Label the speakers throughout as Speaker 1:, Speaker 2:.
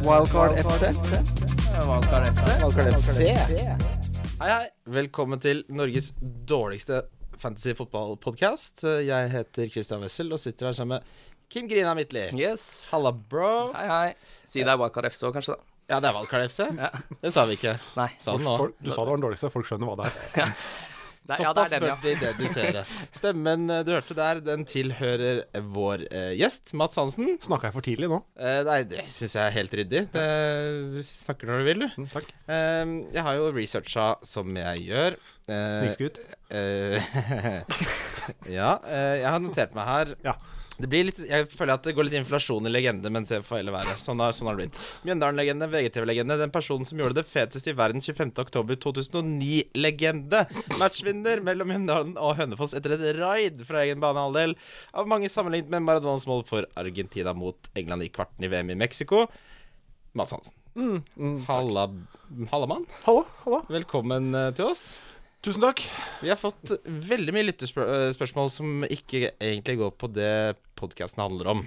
Speaker 1: Wildcard FC.
Speaker 2: Valgkar FC.
Speaker 1: Wildcard FC.
Speaker 2: Hei, hei. Velkommen til Norges dårligste fantasy-fotballpodkast. Jeg heter Christian Wessel og sitter her sammen med Kim Grina Midtly.
Speaker 3: Yes.
Speaker 2: Halla, bro.
Speaker 3: Hei, hei. Si det er Wildcard FC òg, kanskje, da.
Speaker 2: Ja, det er Valgkar FC.
Speaker 3: Ja.
Speaker 2: Det sa vi ikke.
Speaker 3: Nei.
Speaker 2: Sa den nå.
Speaker 4: Folk, du sa det var den dårligste, folk skjønner hva det er.
Speaker 3: Det, ja, det
Speaker 2: Såpass
Speaker 3: er den,
Speaker 2: bør
Speaker 3: ja.
Speaker 2: de dedusere. Stemmen eh, du hørte der, den tilhører vår eh, gjest, Mats Hansen.
Speaker 4: Snakka jeg for tidlig nå?
Speaker 2: Eh, nei, det syns jeg er helt ryddig. Det, du snakker når du vil, du.
Speaker 4: Mm, takk.
Speaker 2: Eh, jeg har jo researcha som jeg gjør. Eh,
Speaker 4: Snikskryt.
Speaker 2: Eh, ja, eh, jeg har notert meg her.
Speaker 4: Ja.
Speaker 2: Det blir litt, jeg føler at det går litt inflasjon i legende, men det får heller være. Sånn har, sånn har det blitt. Mjøndalen-legende, VGTV-legende, den personen som gjorde det fetest i verden 25.10.2009-legende. Matchvinner mellom Mjøndalen og Hønefoss etter et raid fra egen banehalvdel. Av mange sammenlignet med Maradonas mål for Argentina mot England i kvarten i VM i Mexico. Mads Hansen. Halla, Hallamann,
Speaker 4: Hallo, hallo.
Speaker 2: velkommen eh, til oss.
Speaker 4: Tusen takk.
Speaker 2: Vi har fått veldig mye lytterspørsmål som ikke egentlig går på det podkasten handler om.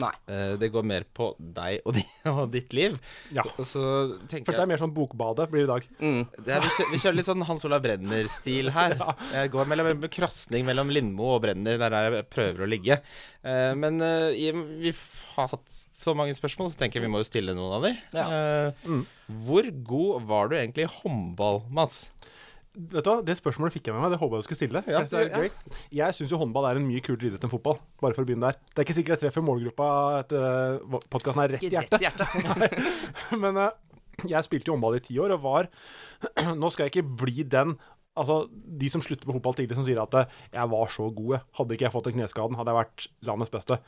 Speaker 3: Nei.
Speaker 2: Eh, Det går mer på deg og, di, og ditt liv.
Speaker 4: Ja.
Speaker 2: Og så tenker
Speaker 4: Følte det
Speaker 2: jeg
Speaker 4: er mer sånn Bokbadet blir i dag.
Speaker 3: Mm.
Speaker 2: det er, vi, kjører, vi kjører litt sånn Hans Olav Brenner-stil her. Jeg går mellom en krasning mellom Lindmo og Brenner. Det er der jeg prøver å ligge. Eh, Men eh, i- vi f- har hatt så mange spørsmål, så tenker jeg vi må jo stille noen av de.
Speaker 3: Ja.
Speaker 2: Eh,
Speaker 4: Mm.
Speaker 2: Hvor god var du egentlig i håndball, Mats?
Speaker 4: Vet du hva, Det spørsmålet fikk jeg med meg. Det håpa jeg du skulle stille.
Speaker 2: Ja,
Speaker 4: Jeg synes det er litt gøy. Jeg syns jo håndball er en mye kulere idrett enn fotball. Bare for å begynne der. Det er ikke sikkert jeg treffer målgruppa etter podkasten er rett i
Speaker 3: Ikke
Speaker 4: hjertet.
Speaker 3: rett i hjertet.
Speaker 4: Men eh, jeg spilte jo håndball i ti år og var Nå skal jeg ikke bli den Altså, De som slutter på fotball tidlig, som sier at eh, 'jeg var så god, jeg. hadde ikke jeg fått den kneskaden, hadde jeg vært landets beste'.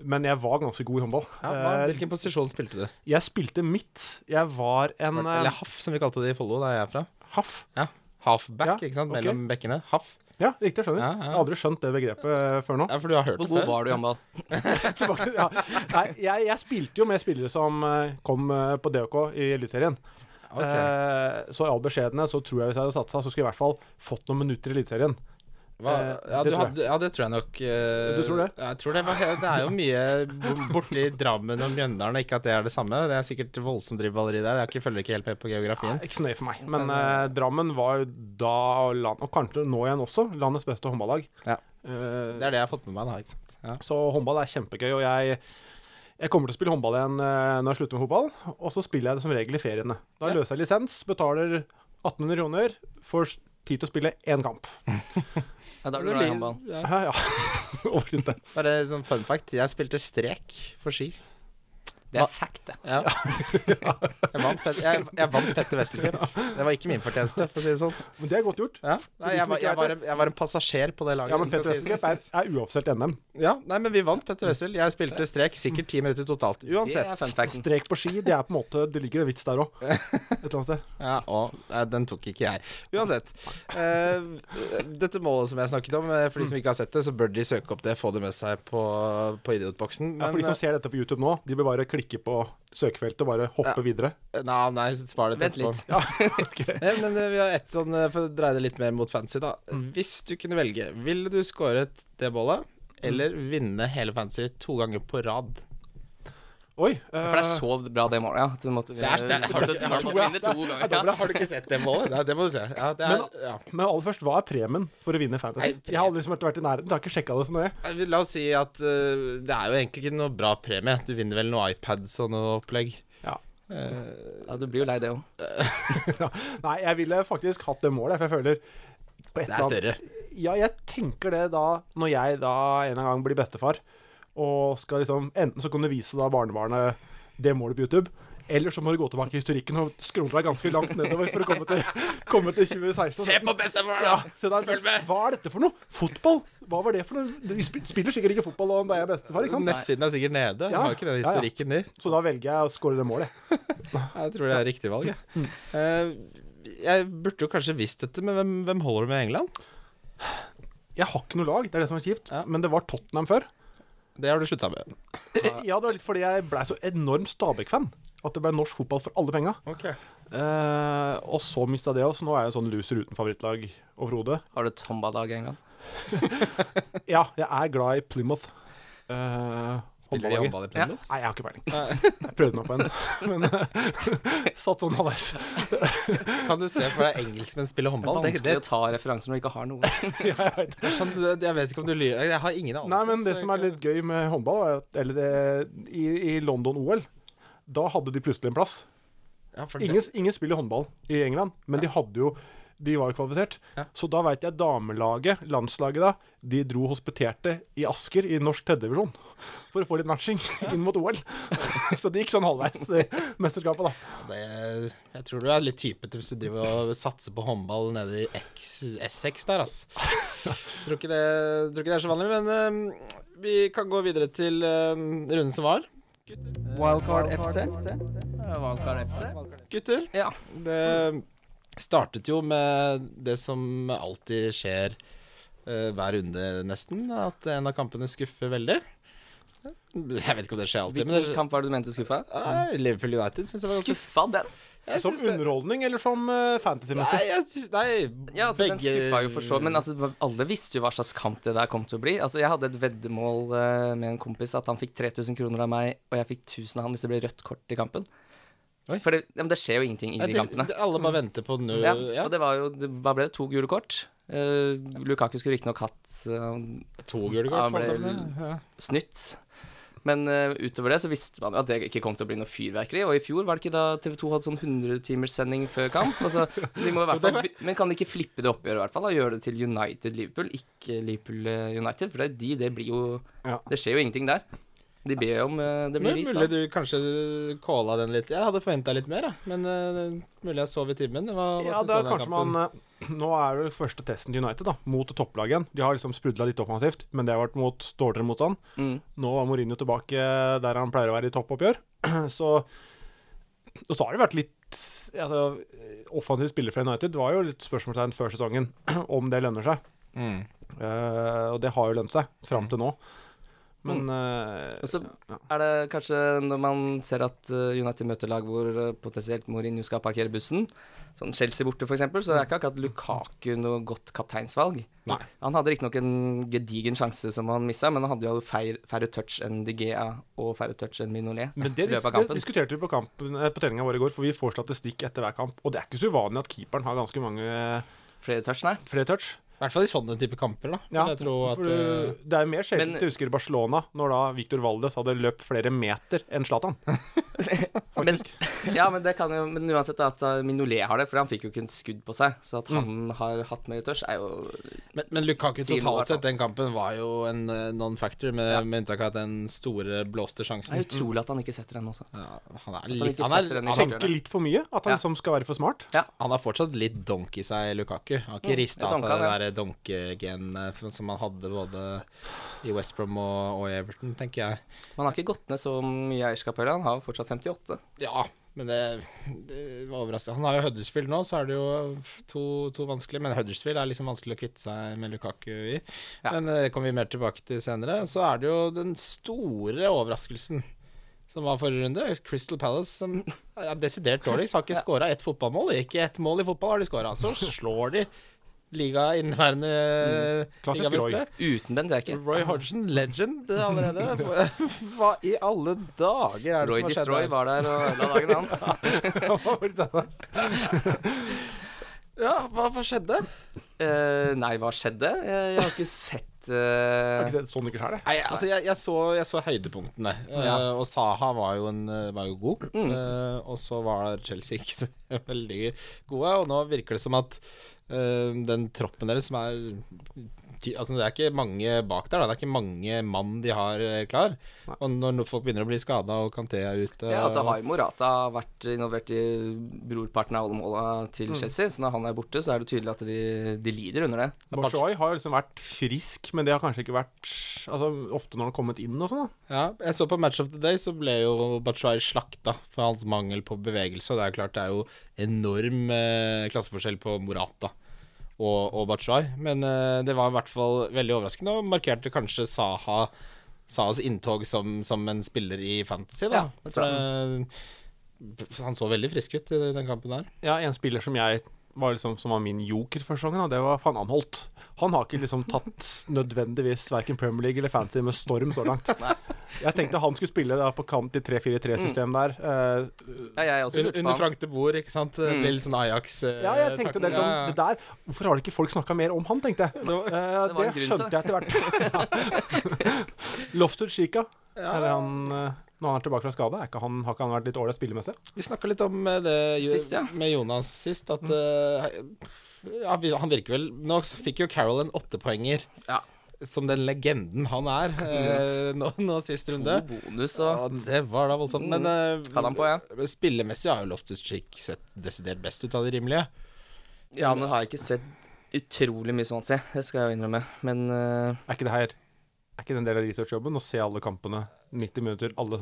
Speaker 4: Men jeg var ganske god i håndball.
Speaker 2: Ja, hva-
Speaker 4: Eh,
Speaker 2: hvilken posisjon spilte du?
Speaker 4: Jeg spilte midt. Jeg var en eh,
Speaker 2: Eller haff, som vi kalte det i Follo, der jeg er fra.
Speaker 4: haff.
Speaker 2: Ja. Halfback,
Speaker 4: Ja,
Speaker 2: ikke sant?
Speaker 4: ok.
Speaker 2: Mellom bekkene. Haff.
Speaker 4: Ja, riktig, jeg skjønner.
Speaker 2: Ja, ja.
Speaker 4: Jeg har aldri skjønt det begrepet eh, før nå.
Speaker 2: Ja, for du har hørt
Speaker 3: Hvor
Speaker 2: det
Speaker 3: god
Speaker 2: før.
Speaker 3: var du i håndball?
Speaker 4: Faktisk, ja. Nei, jeg, jeg spilte jo med spillere som eh, kom eh, på DHK i Eliteserien.
Speaker 2: Ok.
Speaker 4: Eh, så i all beskjedenhet så tror jeg hvis jeg hadde satsa, så skulle jeg i hvert fall fått noen minutter i Eliteserien.
Speaker 2: Hva,
Speaker 4: eh,
Speaker 2: ja,
Speaker 4: det
Speaker 2: du
Speaker 4: tror jeg.
Speaker 2: hadde, ja, det tror jeg nok eh,
Speaker 4: Du tror det?
Speaker 2: ja, Jeg tror det. var- Det er jo mye borti Drammen og Mjøndalen, og ikke at det er det samme. Det er sikkert voldsomt dribballeri der. Jeg har ikke- følger ikke helt med på geografien.
Speaker 4: Ikke så nøye for meg. Men eh, Drammen var jo da, land, og kanskje nå igjen også, landets beste håndballag.
Speaker 2: Ja.
Speaker 4: Eh,
Speaker 2: Det er det jeg har fått med meg, da. ikke sant? Ja.
Speaker 4: Så håndball er kjempegøy, og jeg, jeg kommer til å spille håndball igjen eh, når jeg slutter med fotball. Og så spiller jeg det som regel i feriene. Da
Speaker 2: Ja.
Speaker 4: løser jeg lisens, betaler 1800 kroner, får s- tid til å spille én kamp.
Speaker 3: Ja, da er du glad i håndball.
Speaker 2: Ja.
Speaker 4: Hæ, ja. Oversint det.
Speaker 2: Bare sånn fun fact. Jeg spilte strek for ski.
Speaker 3: Det er fact, det.
Speaker 2: Ja. Jeg vant, Pet jeg, jeg vant Petter Westercup. Det var ikke min fortjeneste, for å si det sånn.
Speaker 4: Men det er godt gjort.
Speaker 2: Ja. Nei, jeg, var- jeg, var en, jeg var en passasjer på det laget.
Speaker 4: Ja, men
Speaker 2: skal
Speaker 4: Petter
Speaker 2: sies.
Speaker 4: Westergrep er, er uoffisielt NM.
Speaker 2: Ja, nei, men vi vant, Petter Wessel. Jeg spilte strek sikkert ti minutter totalt.
Speaker 3: Det er
Speaker 2: Uansett.
Speaker 3: fun facten.
Speaker 4: Strek på ski, det er på en måte Det ligger en vits der òg, et eller annet sted.
Speaker 2: Ja, og nei, den tok ikke jeg. Uansett. eh, dette målet som jeg snakket om, eh, for de som ikke har sett det, så bør de søke opp det, få det med seg på, på Idiotboksen.
Speaker 4: Ja, for de som ser dette på YouTube nå, de bør bare klikke på søkefeltet og bare hoppe videre.
Speaker 2: eh, Nei, nei, spar det
Speaker 3: Vent
Speaker 2: til
Speaker 3: litt.
Speaker 2: etterpå. Eh, Men eh, vi har ett sånn, eh, for å dreie det litt mer mot fancy, da. Hvis du kunne velge, ville du skåret det målet? Eller vinne hele fancy to ganger på rad?
Speaker 4: Oi.
Speaker 3: For det er
Speaker 4: eh,
Speaker 3: så bra, det målet. Ja. at Du måtte, det
Speaker 2: er- det er-
Speaker 3: måtte, du måtte vinne to ganger. Ja.
Speaker 2: Har du ikke sett det målet? Nei, det må du se. Ja, det er, ja.
Speaker 4: Men aller først, hva er premien for å vinne Fantasy?
Speaker 2: Nei, premien-
Speaker 4: Jeg har aldri liksom vært i nærheten, jeg har ikke sjekka det så nøye.
Speaker 2: Eh, La oss si at eh, det er jo egentlig ikke noe bra premie. Du vinner vel noe iPads og noe opplegg.
Speaker 4: Ja.
Speaker 2: Eh,
Speaker 3: ja, du blir jo lei det òg.
Speaker 4: Nei, jeg ville faktisk hatt det målet, for jeg føler på
Speaker 2: det er
Speaker 4: et eller annet-
Speaker 2: større.
Speaker 4: Ja, jeg tenker det da, når jeg da en eller annen gang blir bestefar, og skal liksom Enten så kan du vise da barnebarnet det målet på YouTube, eller så må du gå tilbake i historikken og skrolle deg ganske langt nedover for å komme til, komme til 2016.
Speaker 2: Se på bestemor, da!
Speaker 4: Ja, se der,
Speaker 2: Følg med!
Speaker 4: Hva er dette for noe? Fotball? Hva var det for noe? Vi sp- spiller sikkert ikke fotball om jeg er bestefar, ikke sant?
Speaker 2: Nettsiden er sikkert nede.
Speaker 4: Ja,
Speaker 2: Har ikke den
Speaker 4: ja, ja.
Speaker 2: historikken de.
Speaker 4: Så da velger jeg å skåre det målet.
Speaker 2: Jeg tror det er riktig valg, jeg.
Speaker 4: Mm.
Speaker 2: Eh, jeg burde jo kanskje visst dette, men hvem, hvem holder du med i England?
Speaker 4: Jeg har ikke noe lag, det er det som er kjipt.
Speaker 2: Ja.
Speaker 4: Men det var Tottenham før.
Speaker 2: Det har du slutta med.
Speaker 4: Ja, det var litt fordi jeg blei så enormt Stabæk-fan. At det ble norsk fotball for alle penga. Eh, og så mista jeg det, og så nå er jeg en sånn loser uten favorittlag overhodet.
Speaker 3: Har du et håndballag i England?
Speaker 4: Ja, jeg er glad i Plymouth. Eh,
Speaker 2: Spiller de
Speaker 4: håndballaget.
Speaker 2: håndball i Premier League?
Speaker 4: Nei, jeg har ikke peiling. Jeg prøvde meg på en, men satt sånn halvveis.
Speaker 2: Kan du se for deg engelskmenn spille håndball? Det,
Speaker 3: Vanskelig
Speaker 2: det,
Speaker 3: å ta referanser når du ikke har noe.
Speaker 4: Ja, jeg vet.
Speaker 2: det er sånn, det- jeg vet ikke om du lyver. Jeg har ingen anelse.
Speaker 4: Nei, men det
Speaker 2: så
Speaker 4: som er
Speaker 2: jeg-
Speaker 4: litt gøy med håndball, er at- eller det, i, i London-OL, da hadde de plutselig en plass.
Speaker 2: ja, for det-
Speaker 4: Ingen, ingen spiller håndball i England, men de hadde jo de var jo kvalifisert.
Speaker 2: Ja.
Speaker 4: Så da veit jeg damelaget, landslaget da, de dro hospiterte i Asker i norsk tredjedivisjon for å få litt matching inn mot OL. Så det gikk sånn halvveis i mesterskapet, da.
Speaker 2: Det, jeg tror du er litt type til hvis du driver og satser på håndball nede i X- Essex der, ass. Tror ikke det, tror ikke det er så vanlig, men eh, vi kan gå videre til eh, runden som var.
Speaker 1: Wildcard FC.
Speaker 3: Valgkar FC.
Speaker 2: Gutter,
Speaker 3: Ja.
Speaker 2: det startet jo med det som alltid skjer eh, hver runde, nesten. At en av kampene skuffer veldig. Jeg vet ikke om det skjer alltid, men
Speaker 3: Hvilken
Speaker 2: det,
Speaker 3: kamp var det du mente skuffa?
Speaker 2: Nei, Liverpool United syns jeg var ganske
Speaker 3: Skuffa den?
Speaker 2: jeg
Speaker 4: Som
Speaker 2: synes det-
Speaker 4: underholdning eller som eh, fantasy-messig?
Speaker 2: Nei, jeg, nei
Speaker 3: Ja, altså, den skuffa jo for så Men altså, hva- alle visste jo hva slags kamp det der kom til å bli. Altså, jeg hadde et veddemål eh, med en kompis at han fikk 3000 kroner av meg, og jeg fikk 1000 av han hvis det ble rødt kort i kampen.
Speaker 2: Oi.
Speaker 3: For det, ja, men det skjer jo ingenting i
Speaker 2: Ja,
Speaker 3: de
Speaker 2: det-
Speaker 3: kampene.
Speaker 2: det- Alle bare
Speaker 4: Mm.
Speaker 2: venter på nå
Speaker 3: Ja,
Speaker 2: ja.
Speaker 3: og det var jo det, Hva ble det? To gule kort? Eh, Lukaku skulle riktignok hatt eh,
Speaker 2: To gule
Speaker 3: Ja,
Speaker 2: kort.
Speaker 3: ble-
Speaker 2: holdt jeg på å si. Ja.
Speaker 3: eh, snytt. Men eh, utover det så visste man jo at det ikke kom til å bli noe fyrverkeri. Og i fjor var det ikke da TV 2 hadde sånn 100-timerssending før kamp. Altså, de må i hvert fall, by- men kan de ikke flippe det oppgjøret, i hvert fall? Og gjøre det til United-Liverpool, ikke Liverpool-United. For det, de, det blir jo
Speaker 4: Ja.
Speaker 3: Det skjer jo ingenting der. De ber jo om eh, Det
Speaker 2: Men
Speaker 3: blir ris,
Speaker 2: mulig
Speaker 3: da.
Speaker 2: du kanskje calla den litt. Jeg hadde forventa litt mer, da. men eh, mulig jeg sov i timen. Hva, hva
Speaker 4: Ja,
Speaker 2: syns du
Speaker 4: det
Speaker 2: om
Speaker 4: er
Speaker 2: den
Speaker 4: kanskje
Speaker 2: kampen?
Speaker 4: man eh, Nå er det første testen til United, da, mot topplaget igjen. De har liksom sprudla litt offensivt, men det har vært mot dårligere motstand.
Speaker 3: Mm.
Speaker 4: Nå var Mourinho tilbake der han pleier å være i toppoppgjør. Så Og så har det vært litt altså, Offensiv spiller fra United Det var jo litt spørsmålstegn før sesongen om det lønner seg.
Speaker 2: Mm.
Speaker 4: Eh, og det har jo lønt seg fram til nå. Men
Speaker 3: Mm.
Speaker 4: eh,
Speaker 3: Og så er det kanskje når man ser at eh, United møter lag hvor eh, potensielt Mourinho skal parkere bussen, sånn Chelsea borte f.eks., så er ikke akkurat Lukaku noe godt kapteinsvalg.
Speaker 4: Nei.
Speaker 3: Han hadde riktignok en gedigen sjanse som han missa, men han hadde jo feir, færre touch enn De Gea og færre touch enn Minolet.
Speaker 4: Men det,
Speaker 3: i løpet av
Speaker 4: dis det
Speaker 3: kampen.
Speaker 4: diskuterte vi på, kampen, eh, på treninga vår i går, for vi får statistikk etter hver kamp. Og det er ikke så uvanlig at keeperen har ganske mange eh,
Speaker 3: Flere touch, nei.
Speaker 4: flere touch.
Speaker 2: I hvert fall i sånne type kamper, da.
Speaker 4: Ja,
Speaker 2: vil jeg tro at, eh,
Speaker 4: for du, det er mer sjeldent
Speaker 3: eh, Men-
Speaker 4: jeg husker i Barcelona, når da Victor Valdes hadde løpt flere meter enn Zlatan.
Speaker 3: Men,
Speaker 4: Faktisk.
Speaker 3: ja, men, det kan jo, men uansett at eh, Minolet har det, for han fikk jo ikke en skudd på seg. Så
Speaker 4: Mm.
Speaker 3: at han har hatt mer touch, er jo
Speaker 2: eh, men, men Lukaku
Speaker 3: Sier noe, i hvert
Speaker 2: totalt
Speaker 3: fall.
Speaker 2: sett, den kampen var jo en eh, non-factor, med, med unntak av den store blåste
Speaker 3: Det er
Speaker 4: Mm.
Speaker 2: sjansen.
Speaker 3: utrolig at han ikke setter den også.
Speaker 2: Ja, han, er
Speaker 3: ikke
Speaker 2: litt, han,
Speaker 3: setter
Speaker 2: er,
Speaker 3: den i
Speaker 2: han,
Speaker 3: kampen.
Speaker 2: er,
Speaker 4: Tenker litt for mye. At han
Speaker 3: Ja.
Speaker 4: liksom skal være for smart.
Speaker 2: han har fortsatt litt donk i seg, Lukaku. Han har
Speaker 3: Mm,
Speaker 2: ikke
Speaker 3: det
Speaker 2: rista av seg
Speaker 3: donka,
Speaker 2: det der donkegenet som han hadde både i West Brom og, og i Everton, tenker jeg.
Speaker 3: Man har ikke gått ned så mye eierskap heller, han har jo fortsatt 58.
Speaker 2: Ja, men det, det var overraskende. Han har jo Huddersfield nå, så er det jo to, to vanskelige. Men Huddersfield er liksom vanskelig å kvitte seg med Lukaku i.
Speaker 3: Ja.
Speaker 2: Men eh, det kommer vi mer tilbake til senere. Så er det jo den store overraskelsen som var forrige runde. Crystal Palace som er desidert dårligst, har ikke skåra ett fotballmål. Ikke ett mål i fotball har de skåra. Så slår de liga inneværende
Speaker 4: Klassisk
Speaker 2: ligamestere.
Speaker 4: Roy.
Speaker 3: Uten Bent Reke.
Speaker 2: Roy Hodgson, legend allerede. Hva i alle dager er det
Speaker 3: Roy
Speaker 2: som har skjedd?
Speaker 3: Destroy
Speaker 2: her?
Speaker 3: var der og ødela dagen, han.
Speaker 2: Ja, hva, hva skjedde?
Speaker 3: Eh, nei, hva skjedde? Eh, jeg har ikke sett eh,
Speaker 4: Er ikke det sånn ikke skjer, det?
Speaker 2: Nei, altså jeg, jeg, så, jeg så høydepunktene, eh,
Speaker 3: Ja.
Speaker 2: og Saha var jo, en, eh, var jo god. eh, og så var Chelsea ikke så veldig gode, og nå virker det som at eh, den troppen deres som er ty- Altså, det er ikke mange bak der, da. Det er ikke mange mann de har eh, klar. Og når folk begynner å bli skada og Kanté er ute
Speaker 3: ja, altså
Speaker 2: og-
Speaker 3: Har Morata vært involvert i brorparten av alle måla til Chelsea, så når han er borte, så er det tydelig at de, de lider under det.
Speaker 4: Bachoy har jo liksom vært frisk, men det har kanskje ikke vært Altså, ofte når han har kommet inn og sånn, da.
Speaker 2: Ja, jeg så på Match of the Day, så ble jo Batshuayi slakta for hans mangel på bevegelse. Og det er jo klart det er jo enorm eh, klasseforskjell på Morata og, og Batshuayi. Men eh, det var i hvert fall veldig overraskende, og markerte kanskje Saha Sahas inntog som, som en spiller i Fantasy, da.
Speaker 3: Ja, det tror
Speaker 2: for, eh, han så veldig frisk ut i den kampen der.
Speaker 4: Ja, en spiller som jeg var liksom, som var min joker første sesongen, da, det var Van Anholt. Han har ikke liksom tatt nødvendigvis verken Premier League eller Fantasy med storm så langt. Jeg tenkte han skulle spille da, på kant i 3-4-3-system der. eh,
Speaker 3: Ja, jeg også
Speaker 2: Un
Speaker 3: lurte på
Speaker 2: under
Speaker 3: han.
Speaker 2: Frank de Boer, ikke sant? Det blir litt sånn Ajax eh,
Speaker 4: ja, jeg tenkte
Speaker 2: takten.
Speaker 4: det, liksom,
Speaker 2: Ja, ja.
Speaker 4: det der Hvorfor har det ikke folk snakka mer om han, tenkte jeg. Eh,
Speaker 3: det
Speaker 4: det
Speaker 3: var en grunn til
Speaker 4: skjønte jeg etter hvert. Loftus Chica. Er han, eh, når han er tilbake fra skade, er ikke han, har ikke han vært litt ålreit spillemessig?
Speaker 2: Vi snakka litt om eh, det jo,
Speaker 3: Sist, ja. Mm.
Speaker 2: med Jonas sist, at eh, ja, vi- han virker vel Nå så fikk jo Carol en åttepoenger,
Speaker 3: Ja. Mm.
Speaker 2: som den legenden han er, eh, nå, nå sist runde.
Speaker 3: God bonus
Speaker 2: Ja,
Speaker 3: og
Speaker 2: det var da voldsomt. Men eh,
Speaker 3: Mm. Hadde han på,
Speaker 2: spillemessig har jo Loftus Cheek sett desidert best ut av de rimelige.
Speaker 3: Ja, nå har jeg ikke sett utrolig mye sånt, se. Det skal jeg jo innrømme. Men eh,
Speaker 4: Er ikke det her Er ikke det en del av researchjobben å se alle kampene 90 minutter, alle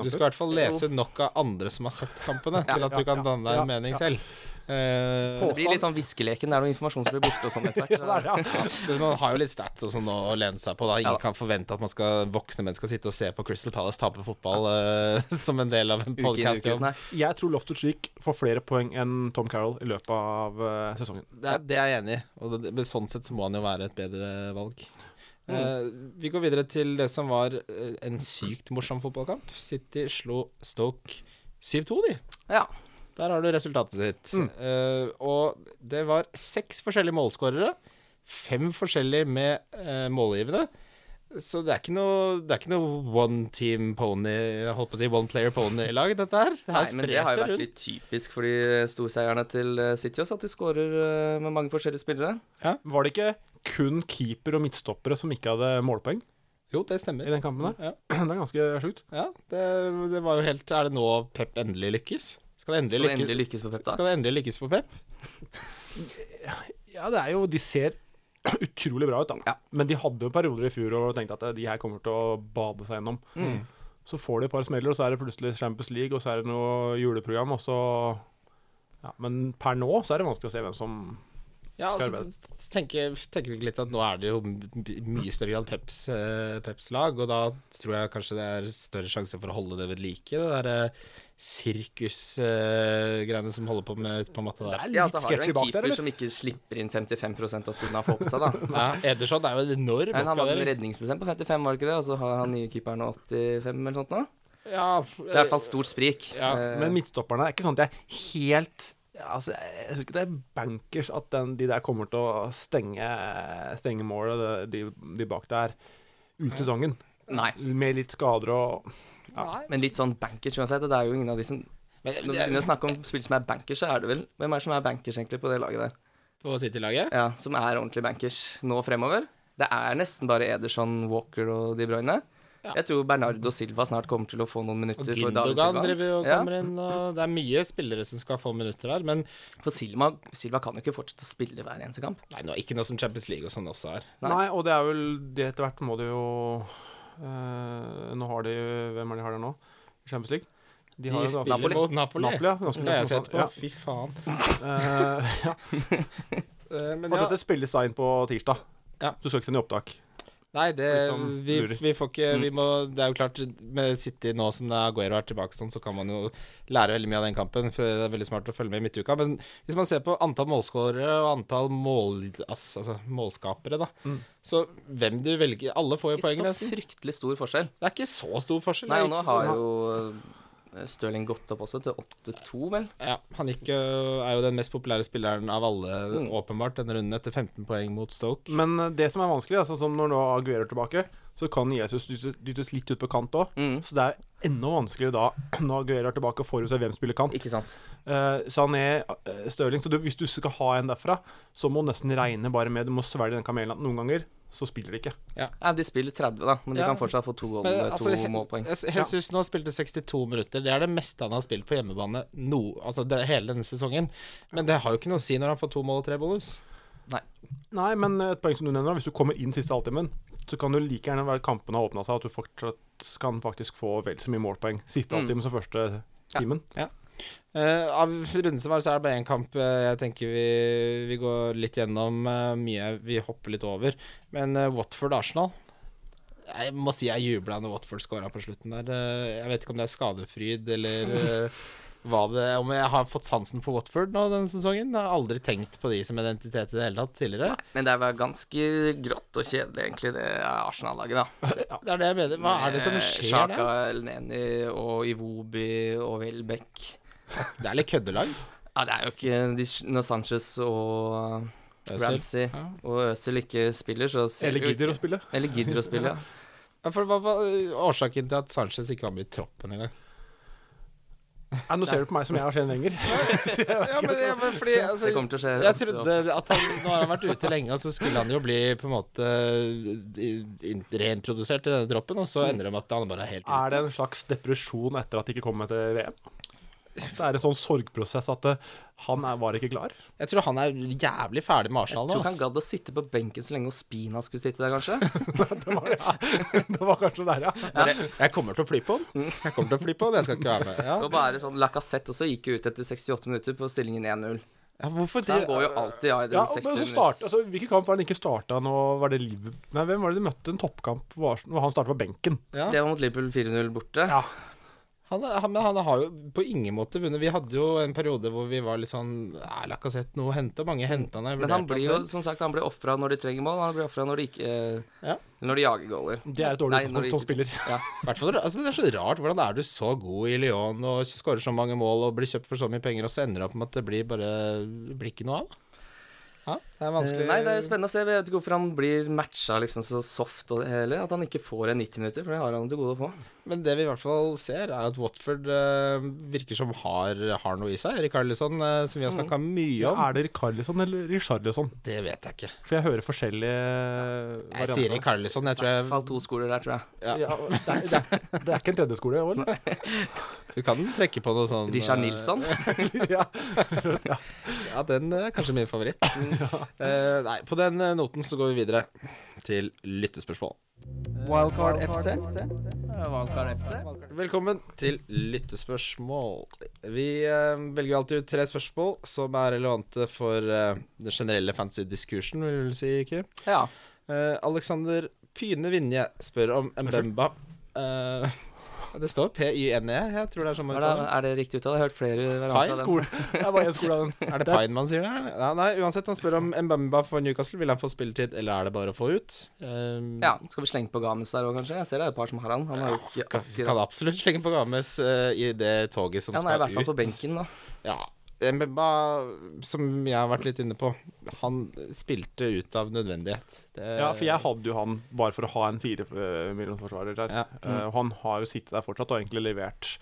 Speaker 2: Du
Speaker 4: kamper?
Speaker 2: skal i hvert fall lese nok av andre som har sett kampene, til at du kan danne deg
Speaker 4: ja,
Speaker 2: en mening
Speaker 4: ja.
Speaker 2: selv. Eh,
Speaker 3: det blir litt sånn viskeleken. Det er noe informasjon som blir borte og sånn etter hvert.
Speaker 4: Ja,
Speaker 3: så-
Speaker 4: det er det, ja.
Speaker 2: Men Man har jo litt stats og sånn å lene seg på. da Ingen
Speaker 3: Ja.
Speaker 2: kan forvente at man skal, voksne menn skal sitte og se på Crystal Palace tape fotball eh, som en del av en
Speaker 3: Uke inn,
Speaker 2: podcast
Speaker 3: uke ut. Nei.
Speaker 4: Jeg tror Loftus Cheek får flere poeng enn Tom Carroll i løpet av eh, sesongen.
Speaker 2: Det, er- det er jeg enig i. Og det, men sånn sett så må han jo være et bedre valg.
Speaker 3: Mm.
Speaker 2: Eh, vi går videre til det som var eh, en sykt morsom fotballkamp. City slo Stoke 7-2, de.
Speaker 3: Ja.
Speaker 2: Der har du resultatet sitt.
Speaker 3: Mm.
Speaker 2: Eh, og det var seks forskjellige målskårere. Fem forskjellige med eh, målgivende. Så det er ikke noe, det er ikke noe one team pony, jeg holdt på å si one player pony-lag, dette her. Det her
Speaker 3: Nei, men det
Speaker 2: spres
Speaker 3: har jo
Speaker 2: det
Speaker 3: vært
Speaker 2: rundt.
Speaker 3: litt typisk for de storseierne til eh, City også, at de skårer eh, med mange forskjellige spillere.
Speaker 4: Var det ikke kun keeper og midtstoppere som ikke hadde målpoeng
Speaker 2: Jo, det
Speaker 4: i
Speaker 2: stemmer.
Speaker 4: den kampen der?
Speaker 2: Ja.
Speaker 4: Det er ganske sjukt.
Speaker 2: Ja, det, det var jo helt Er det nå Pep endelig lykkes? Skal det endelig,
Speaker 3: Skal det
Speaker 2: lykkes-
Speaker 3: endelig lykkes for Pep, da?
Speaker 2: Skal det endelig lykkes for Pep?
Speaker 4: Ja, det er jo De ser utrolig bra ut, da.
Speaker 3: Ja.
Speaker 4: Men de hadde jo perioder i fjor og tenkte at eh, de her kommer til å bade seg gjennom.
Speaker 3: Mm.
Speaker 4: Så får de et par smeller, og så er det plutselig Champions League, og så er det noe juleprogram, og så ja, Men per nå så er det vanskelig å se hvem som
Speaker 2: Ja,
Speaker 4: Skal
Speaker 2: altså, tenker, tenker vi ikke litt at nå er det jo i mye større grad Peps, eh, Peps lag, og da tror jeg kanskje det er større sjanse for å holde det ved like, det derre sirkusgreiene som holder på med ute på matta
Speaker 4: Det
Speaker 2: der.
Speaker 4: er
Speaker 3: Ja,
Speaker 4: litt
Speaker 3: så har du en
Speaker 4: sketchy bak
Speaker 3: keeper
Speaker 4: der, eller?
Speaker 3: som ikke slipper inn 55 av skuddene han får på seg, da.
Speaker 2: Ja, Ederson er jo en enorm
Speaker 3: Men han hadde en
Speaker 2: oppgradering.
Speaker 3: redningsprosent på 55, var det ikke det? Og så har han nye keeperen nå 85 eller sånt nå.
Speaker 2: Ja,
Speaker 3: Det er i hvert fall stort sprik.
Speaker 2: Ja,
Speaker 3: Eh,
Speaker 4: Men midtstopperne er ikke sånn at jeg helt ja, altså, Jeg jeg synes ikke det er bankers at den, de der kommer til å stenge, stenge målet, det- de, de bak der, ut sesongen.
Speaker 3: Nei.
Speaker 4: Med litt skader og
Speaker 3: Men litt sånn bankers uansett. Det er jo ingen av de som
Speaker 2: men, eh,
Speaker 3: Når du begynner å snakke om spill som er bankers, så er det vel Hvem er det som er bankers egentlig på det laget der?
Speaker 2: På City-laget?
Speaker 3: Ja, Som er ordentlig bankers nå fremover? Det er nesten bare Ederson, Walker og De Bruyne.
Speaker 2: Ja.
Speaker 3: Jeg tror Bernardo Silva snart kommer til å få noen
Speaker 2: Og
Speaker 3: minutter. for David
Speaker 2: Gündogan
Speaker 3: Silva.
Speaker 2: driver jo og
Speaker 3: Ja,
Speaker 2: kommer inn, og det er mye spillere som skal få minutter her, men
Speaker 3: For Silva, Silva kan jo ikke fortsette å spille hver eneste kamp.
Speaker 2: nei, nå, ikke noe som Champions League og sånn også er.
Speaker 3: Nei.
Speaker 4: Nei. og det er vel det etter hvert må de jo eh, Nå har de Hvem er det de har der nå? Champions League? De har
Speaker 2: De
Speaker 4: jo ganske-
Speaker 2: spiller
Speaker 3: Napoli.
Speaker 2: mot Napoli.
Speaker 4: Napoli, ja. Ganske-
Speaker 2: Som jeg har sett på.
Speaker 4: Ja.
Speaker 2: Fy faen.
Speaker 4: Eh, ja.
Speaker 2: Eh, men
Speaker 4: Og dette spilles da inn på tirsdag.
Speaker 2: Ja.
Speaker 4: Du skal ikke sende i opptak.
Speaker 2: Nei, det,
Speaker 4: Liksom
Speaker 2: vi,
Speaker 4: lurer.
Speaker 2: vi får ikke vi må, Det er jo klart, med City nå som det er Aguero er tilbake, sånn, så kan man jo lære veldig mye av den kampen. For det er veldig smart å følge med i midtuka. Men hvis man ser på antall målskårere og antall mål, ass, altså, målskapere, da, så hvem du velger Alle får jo
Speaker 3: Ikke
Speaker 2: poeng,
Speaker 3: så
Speaker 2: nesten.
Speaker 3: fryktelig stor forskjell.
Speaker 2: Det er ikke så stor forskjell.
Speaker 3: Nei,
Speaker 2: Det er
Speaker 3: og nå
Speaker 2: ikke-
Speaker 3: har jo eh, Stirling gått opp også, til 8-2, vel.
Speaker 2: ja, han gikk, jo- er jo den mest populære spilleren av alle,
Speaker 3: Mm.
Speaker 2: åpenbart, denne runden, etter 15 poeng mot Stoke.
Speaker 4: Men eh, det som er vanskelig, er sånn som når nå Aguero er tilbake, så kan Jesus dyttes dyttes litt ut på kant òg.
Speaker 3: Mm.
Speaker 4: Så det er enda vanskeligere da når Aguero er tilbake og forutser hvem spiller kant.
Speaker 3: Ikke sant.
Speaker 4: Eh, Sané, eh, Stirling Så du, hvis du skal ha en derfra, så må du nesten regne bare med Du må svelge den kamelen at noen ganger så spiller de ikke.
Speaker 3: Ja, de spiller 30, da, men de
Speaker 2: Ja.
Speaker 3: kan fortsatt få to, goal,
Speaker 2: Men,
Speaker 3: to
Speaker 2: altså,
Speaker 3: målpoeng.
Speaker 2: He- Jesus nå spilte 62 minutter. Det er det meste han har spilt på hjemmebane no, altså det, hele denne sesongen. Men det har jo ikke noe å si når han får to mål og tre bonus.
Speaker 4: Nei, men eh, et poeng som du nevner, hvis du kommer inn siste halvtimen, så kan du like gjerne være kampene har åpna seg, at du fortsatt kan faktisk få vel så mye målpoeng siste
Speaker 3: Mm.
Speaker 4: halvtimen som første
Speaker 3: Ja.
Speaker 4: timen.
Speaker 2: Eh, av runden som var, så er det bare én kamp eh, jeg tenker vi, vi går litt gjennom. eh, mye vi hopper litt over. Men eh, Watford-Arsenal Jeg må si jeg jubla når Watford scora på slutten der. Eh, jeg vet ikke om det er skadefryd eller eh, hva det, om jeg har fått sansen for Watford nå denne sesongen. Jeg har aldri tenkt på de som identitet i det hele tatt tidligere.
Speaker 3: Men det var ganske grått og kjedelig, egentlig, det Arsenal-laget, da.
Speaker 2: Det er det jeg mener. Hva er det
Speaker 3: Eh,
Speaker 2: som skjer
Speaker 3: Sjaka,
Speaker 2: der?
Speaker 3: Elneny og Iwobi og Welbeck.
Speaker 2: Det er litt køddelag.
Speaker 3: Ja, det er jo ikke de, Når Sanchez og eh,
Speaker 2: Øsil.
Speaker 3: Ramsey
Speaker 2: Ja.
Speaker 3: og Øzil ikke spiller, så ser
Speaker 4: Eller
Speaker 3: vi jo
Speaker 4: gidder å
Speaker 3: ikke-
Speaker 4: spille.
Speaker 3: Eller gidder å spille, ja.
Speaker 2: Ja, for Hva var øh, årsaken til at Sanchez ikke var med i troppen engang?
Speaker 4: Nei, nå ser du på meg som jeg har skjedd lenger.
Speaker 2: Ja, men, ja, men fordi altså,
Speaker 3: Det kommer til å skje.
Speaker 2: Jeg trodde at han, Nå har han vært ute lenge, og så skulle han jo bli på en måte in- reintrodusert i denne troppen, og så ender det med at han bare er helt
Speaker 4: Er det en slags depresjon etter at de ikke kom med til VM? Det er en sånn sorgprosess at eh, han er, var ikke klar.
Speaker 2: Jeg tror han er jævlig ferdig med Arsenal nå.
Speaker 3: Tror ikke han
Speaker 2: ass.
Speaker 3: gadd å sitte på benken så lenge Ospina skulle sitte der, kanskje.
Speaker 4: Det var, ja. det var kanskje der, ja.
Speaker 2: Bare, Jeg kommer til å fly på han. Jeg kommer til å fly på han, jeg skal ikke være med. Ja.
Speaker 3: Og bare sånn Lacassette også gikk jo ut etter 68 minutter på stillingen 1-0.
Speaker 2: Ja, hvorfor
Speaker 3: Så han går jo alltid av i det
Speaker 4: ja og-
Speaker 3: 60
Speaker 4: men så
Speaker 3: minutter.
Speaker 4: start, altså, hvilken kamp var det han ikke starta nå? Var det Liv... Nei, hvem var det de møtte? En toppkamp hvor Arsenal- hvor han starta på benken.
Speaker 2: Ja.
Speaker 3: Det var mot Liverpool 4-0 borte.
Speaker 4: Ja.
Speaker 2: Han, er- han, men han har jo på ingen måte vunnet. Vi hadde jo en periode hvor vi var litt sånn Er Lacassette noe å hente? Mange henta han. jeg
Speaker 3: Men han
Speaker 2: vurderte
Speaker 3: blir jo
Speaker 2: selv.
Speaker 3: som sagt, han blir ofra når de trenger mål, han blir ofra når de ikke eh,
Speaker 2: Ja.
Speaker 3: Når de jager goaler.
Speaker 4: Det er
Speaker 3: Nei,
Speaker 4: et dårlig
Speaker 3: når de
Speaker 4: utgangspunkt som
Speaker 3: ikke-
Speaker 4: spiller.
Speaker 3: Ja.
Speaker 2: Hvertfall- altså, men det er så rart. Hvordan er du så god i Lyon og skårer så mange mål og blir kjøpt for så mye penger, og så ender det opp med at det blir bare blir ikke noe av? Ja, det er vanskelig.
Speaker 3: Eh, Nei, det er spennende å se. Jeg vet ikke hvorfor han blir matcha liksom så soft og det hele. At han ikke får en 90 minutter, for det har han til gode å få.
Speaker 2: Men det vi i hvert fall ser, er at Watford eh, virker som har, har noe i seg. Erik Harlison, eh, som vi har snakka
Speaker 3: Mm.
Speaker 2: mye om,
Speaker 4: Er det Rikarlison eller Richarlison?
Speaker 2: det vet jeg ikke.
Speaker 4: For jeg hører forskjellige varianter.
Speaker 2: Jeg sier Erik Harlison. Jeg tror
Speaker 3: I hvert
Speaker 2: jeg
Speaker 3: fall to skoler der, tror jeg.
Speaker 2: ja,
Speaker 4: Ja, det, er, det, er, det er ikke en tredjeskole, jo, eller?
Speaker 2: Du kan trekke på noe sånn
Speaker 3: Mm. Richard
Speaker 2: eh,
Speaker 3: Nilsson.
Speaker 4: Ja.
Speaker 2: Ja, den er kanskje min favoritt. Eh, nei, på den eh, noten så går vi videre til lyttespørsmål.
Speaker 1: Wildcard FC.
Speaker 3: Valkar FC.
Speaker 2: Velkommen til lyttespørsmål. Vi eh, velger alltid ut tre spørsmål som er relevante for eh, den generelle fantasy-diskursen, vil du si, Kim.
Speaker 3: Ja.
Speaker 2: Eh, Alexander Pyne Vinje spør om Mbemba. Eh, det står P-Y-N-E, jeg tror det er sånn man
Speaker 3: Er det,
Speaker 2: uttaler det.
Speaker 3: er det riktig uttale? Jeg har hørt flere
Speaker 2: Pai
Speaker 3: varianter av den.
Speaker 4: Skole. Det er bare én skole av den.
Speaker 2: Er det Pine man sier det? eller? Ja, nei, uansett, han spør om Mbemba for Newcastle. Vil han få spilletid, eller er det bare å få ut? Eh,
Speaker 3: Ja, skal vi slenge på Games der òg, kanskje? Jeg ser det er et par som har han. Han har jo ikke
Speaker 2: Kan, kan
Speaker 3: akkurat
Speaker 2: absolutt slenge på Games eh, i det toget som
Speaker 3: Ja, han er i
Speaker 2: skal
Speaker 3: hvert fall på
Speaker 2: ut.
Speaker 3: benken, da.
Speaker 2: Ja, Mbemba, som jeg har vært litt inne på, han spilte ut av nødvendighet. Det-
Speaker 4: Ja, for jeg hadde jo han bare for å ha en fire eh, millionsforsvarer der.
Speaker 2: Ja. Mm.
Speaker 4: Eh, og han har jo sittet der fortsatt og egentlig levert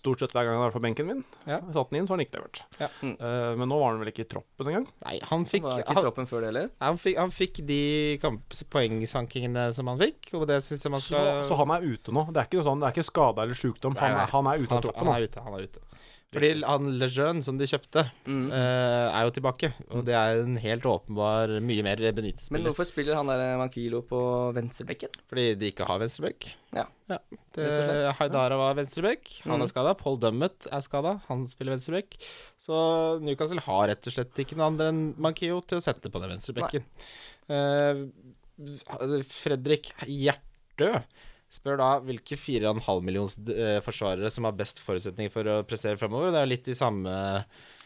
Speaker 4: stort sett hver gang han har vært på benken min.
Speaker 2: Ja.
Speaker 4: Jeg Satt den inn, så har han ikke levert.
Speaker 2: Ja.
Speaker 4: Eh, men nå var han vel ikke i troppen engang.
Speaker 2: Nei, han fikk,
Speaker 3: Var ikke i
Speaker 2: han,
Speaker 3: troppen før det heller.
Speaker 2: han fikk, han fikk de kamp, poengsankingene som han fikk, og det syns jeg man
Speaker 4: Så,
Speaker 2: skal
Speaker 4: så han er ute nå. Det er ikke noe sånn, det er ikke skada eller sjukdom. Han,
Speaker 2: Nei, nei.
Speaker 4: er- han er ute av
Speaker 2: han,
Speaker 4: troppen.
Speaker 2: han er ute, han er ute. Fordi han Lejeune, som de kjøpte,
Speaker 3: Mm.
Speaker 2: eh, er jo tilbake. Og det er en helt åpenbar mye mer benyttet
Speaker 3: Men
Speaker 2: spiller.
Speaker 3: hvorfor spiller han der Mankilo på venstrebekken?
Speaker 2: Fordi de ikke har venstrebekk.
Speaker 3: Ja.
Speaker 2: Det,
Speaker 3: Rett og slett.
Speaker 2: Haidara var venstreback, han
Speaker 3: Mm.
Speaker 2: er skada. Paul Dummet er skada, han spiller venstreback. Så Newcastle har rett og slett ikke noe andre enn Mankio til å sette på den venstrebacken. Eh, Fredrik Hjertø spør da hvilke 4,5 millions eh, forsvarere som har best forutsetninger for å prestere fremover. Det er jo litt i samme,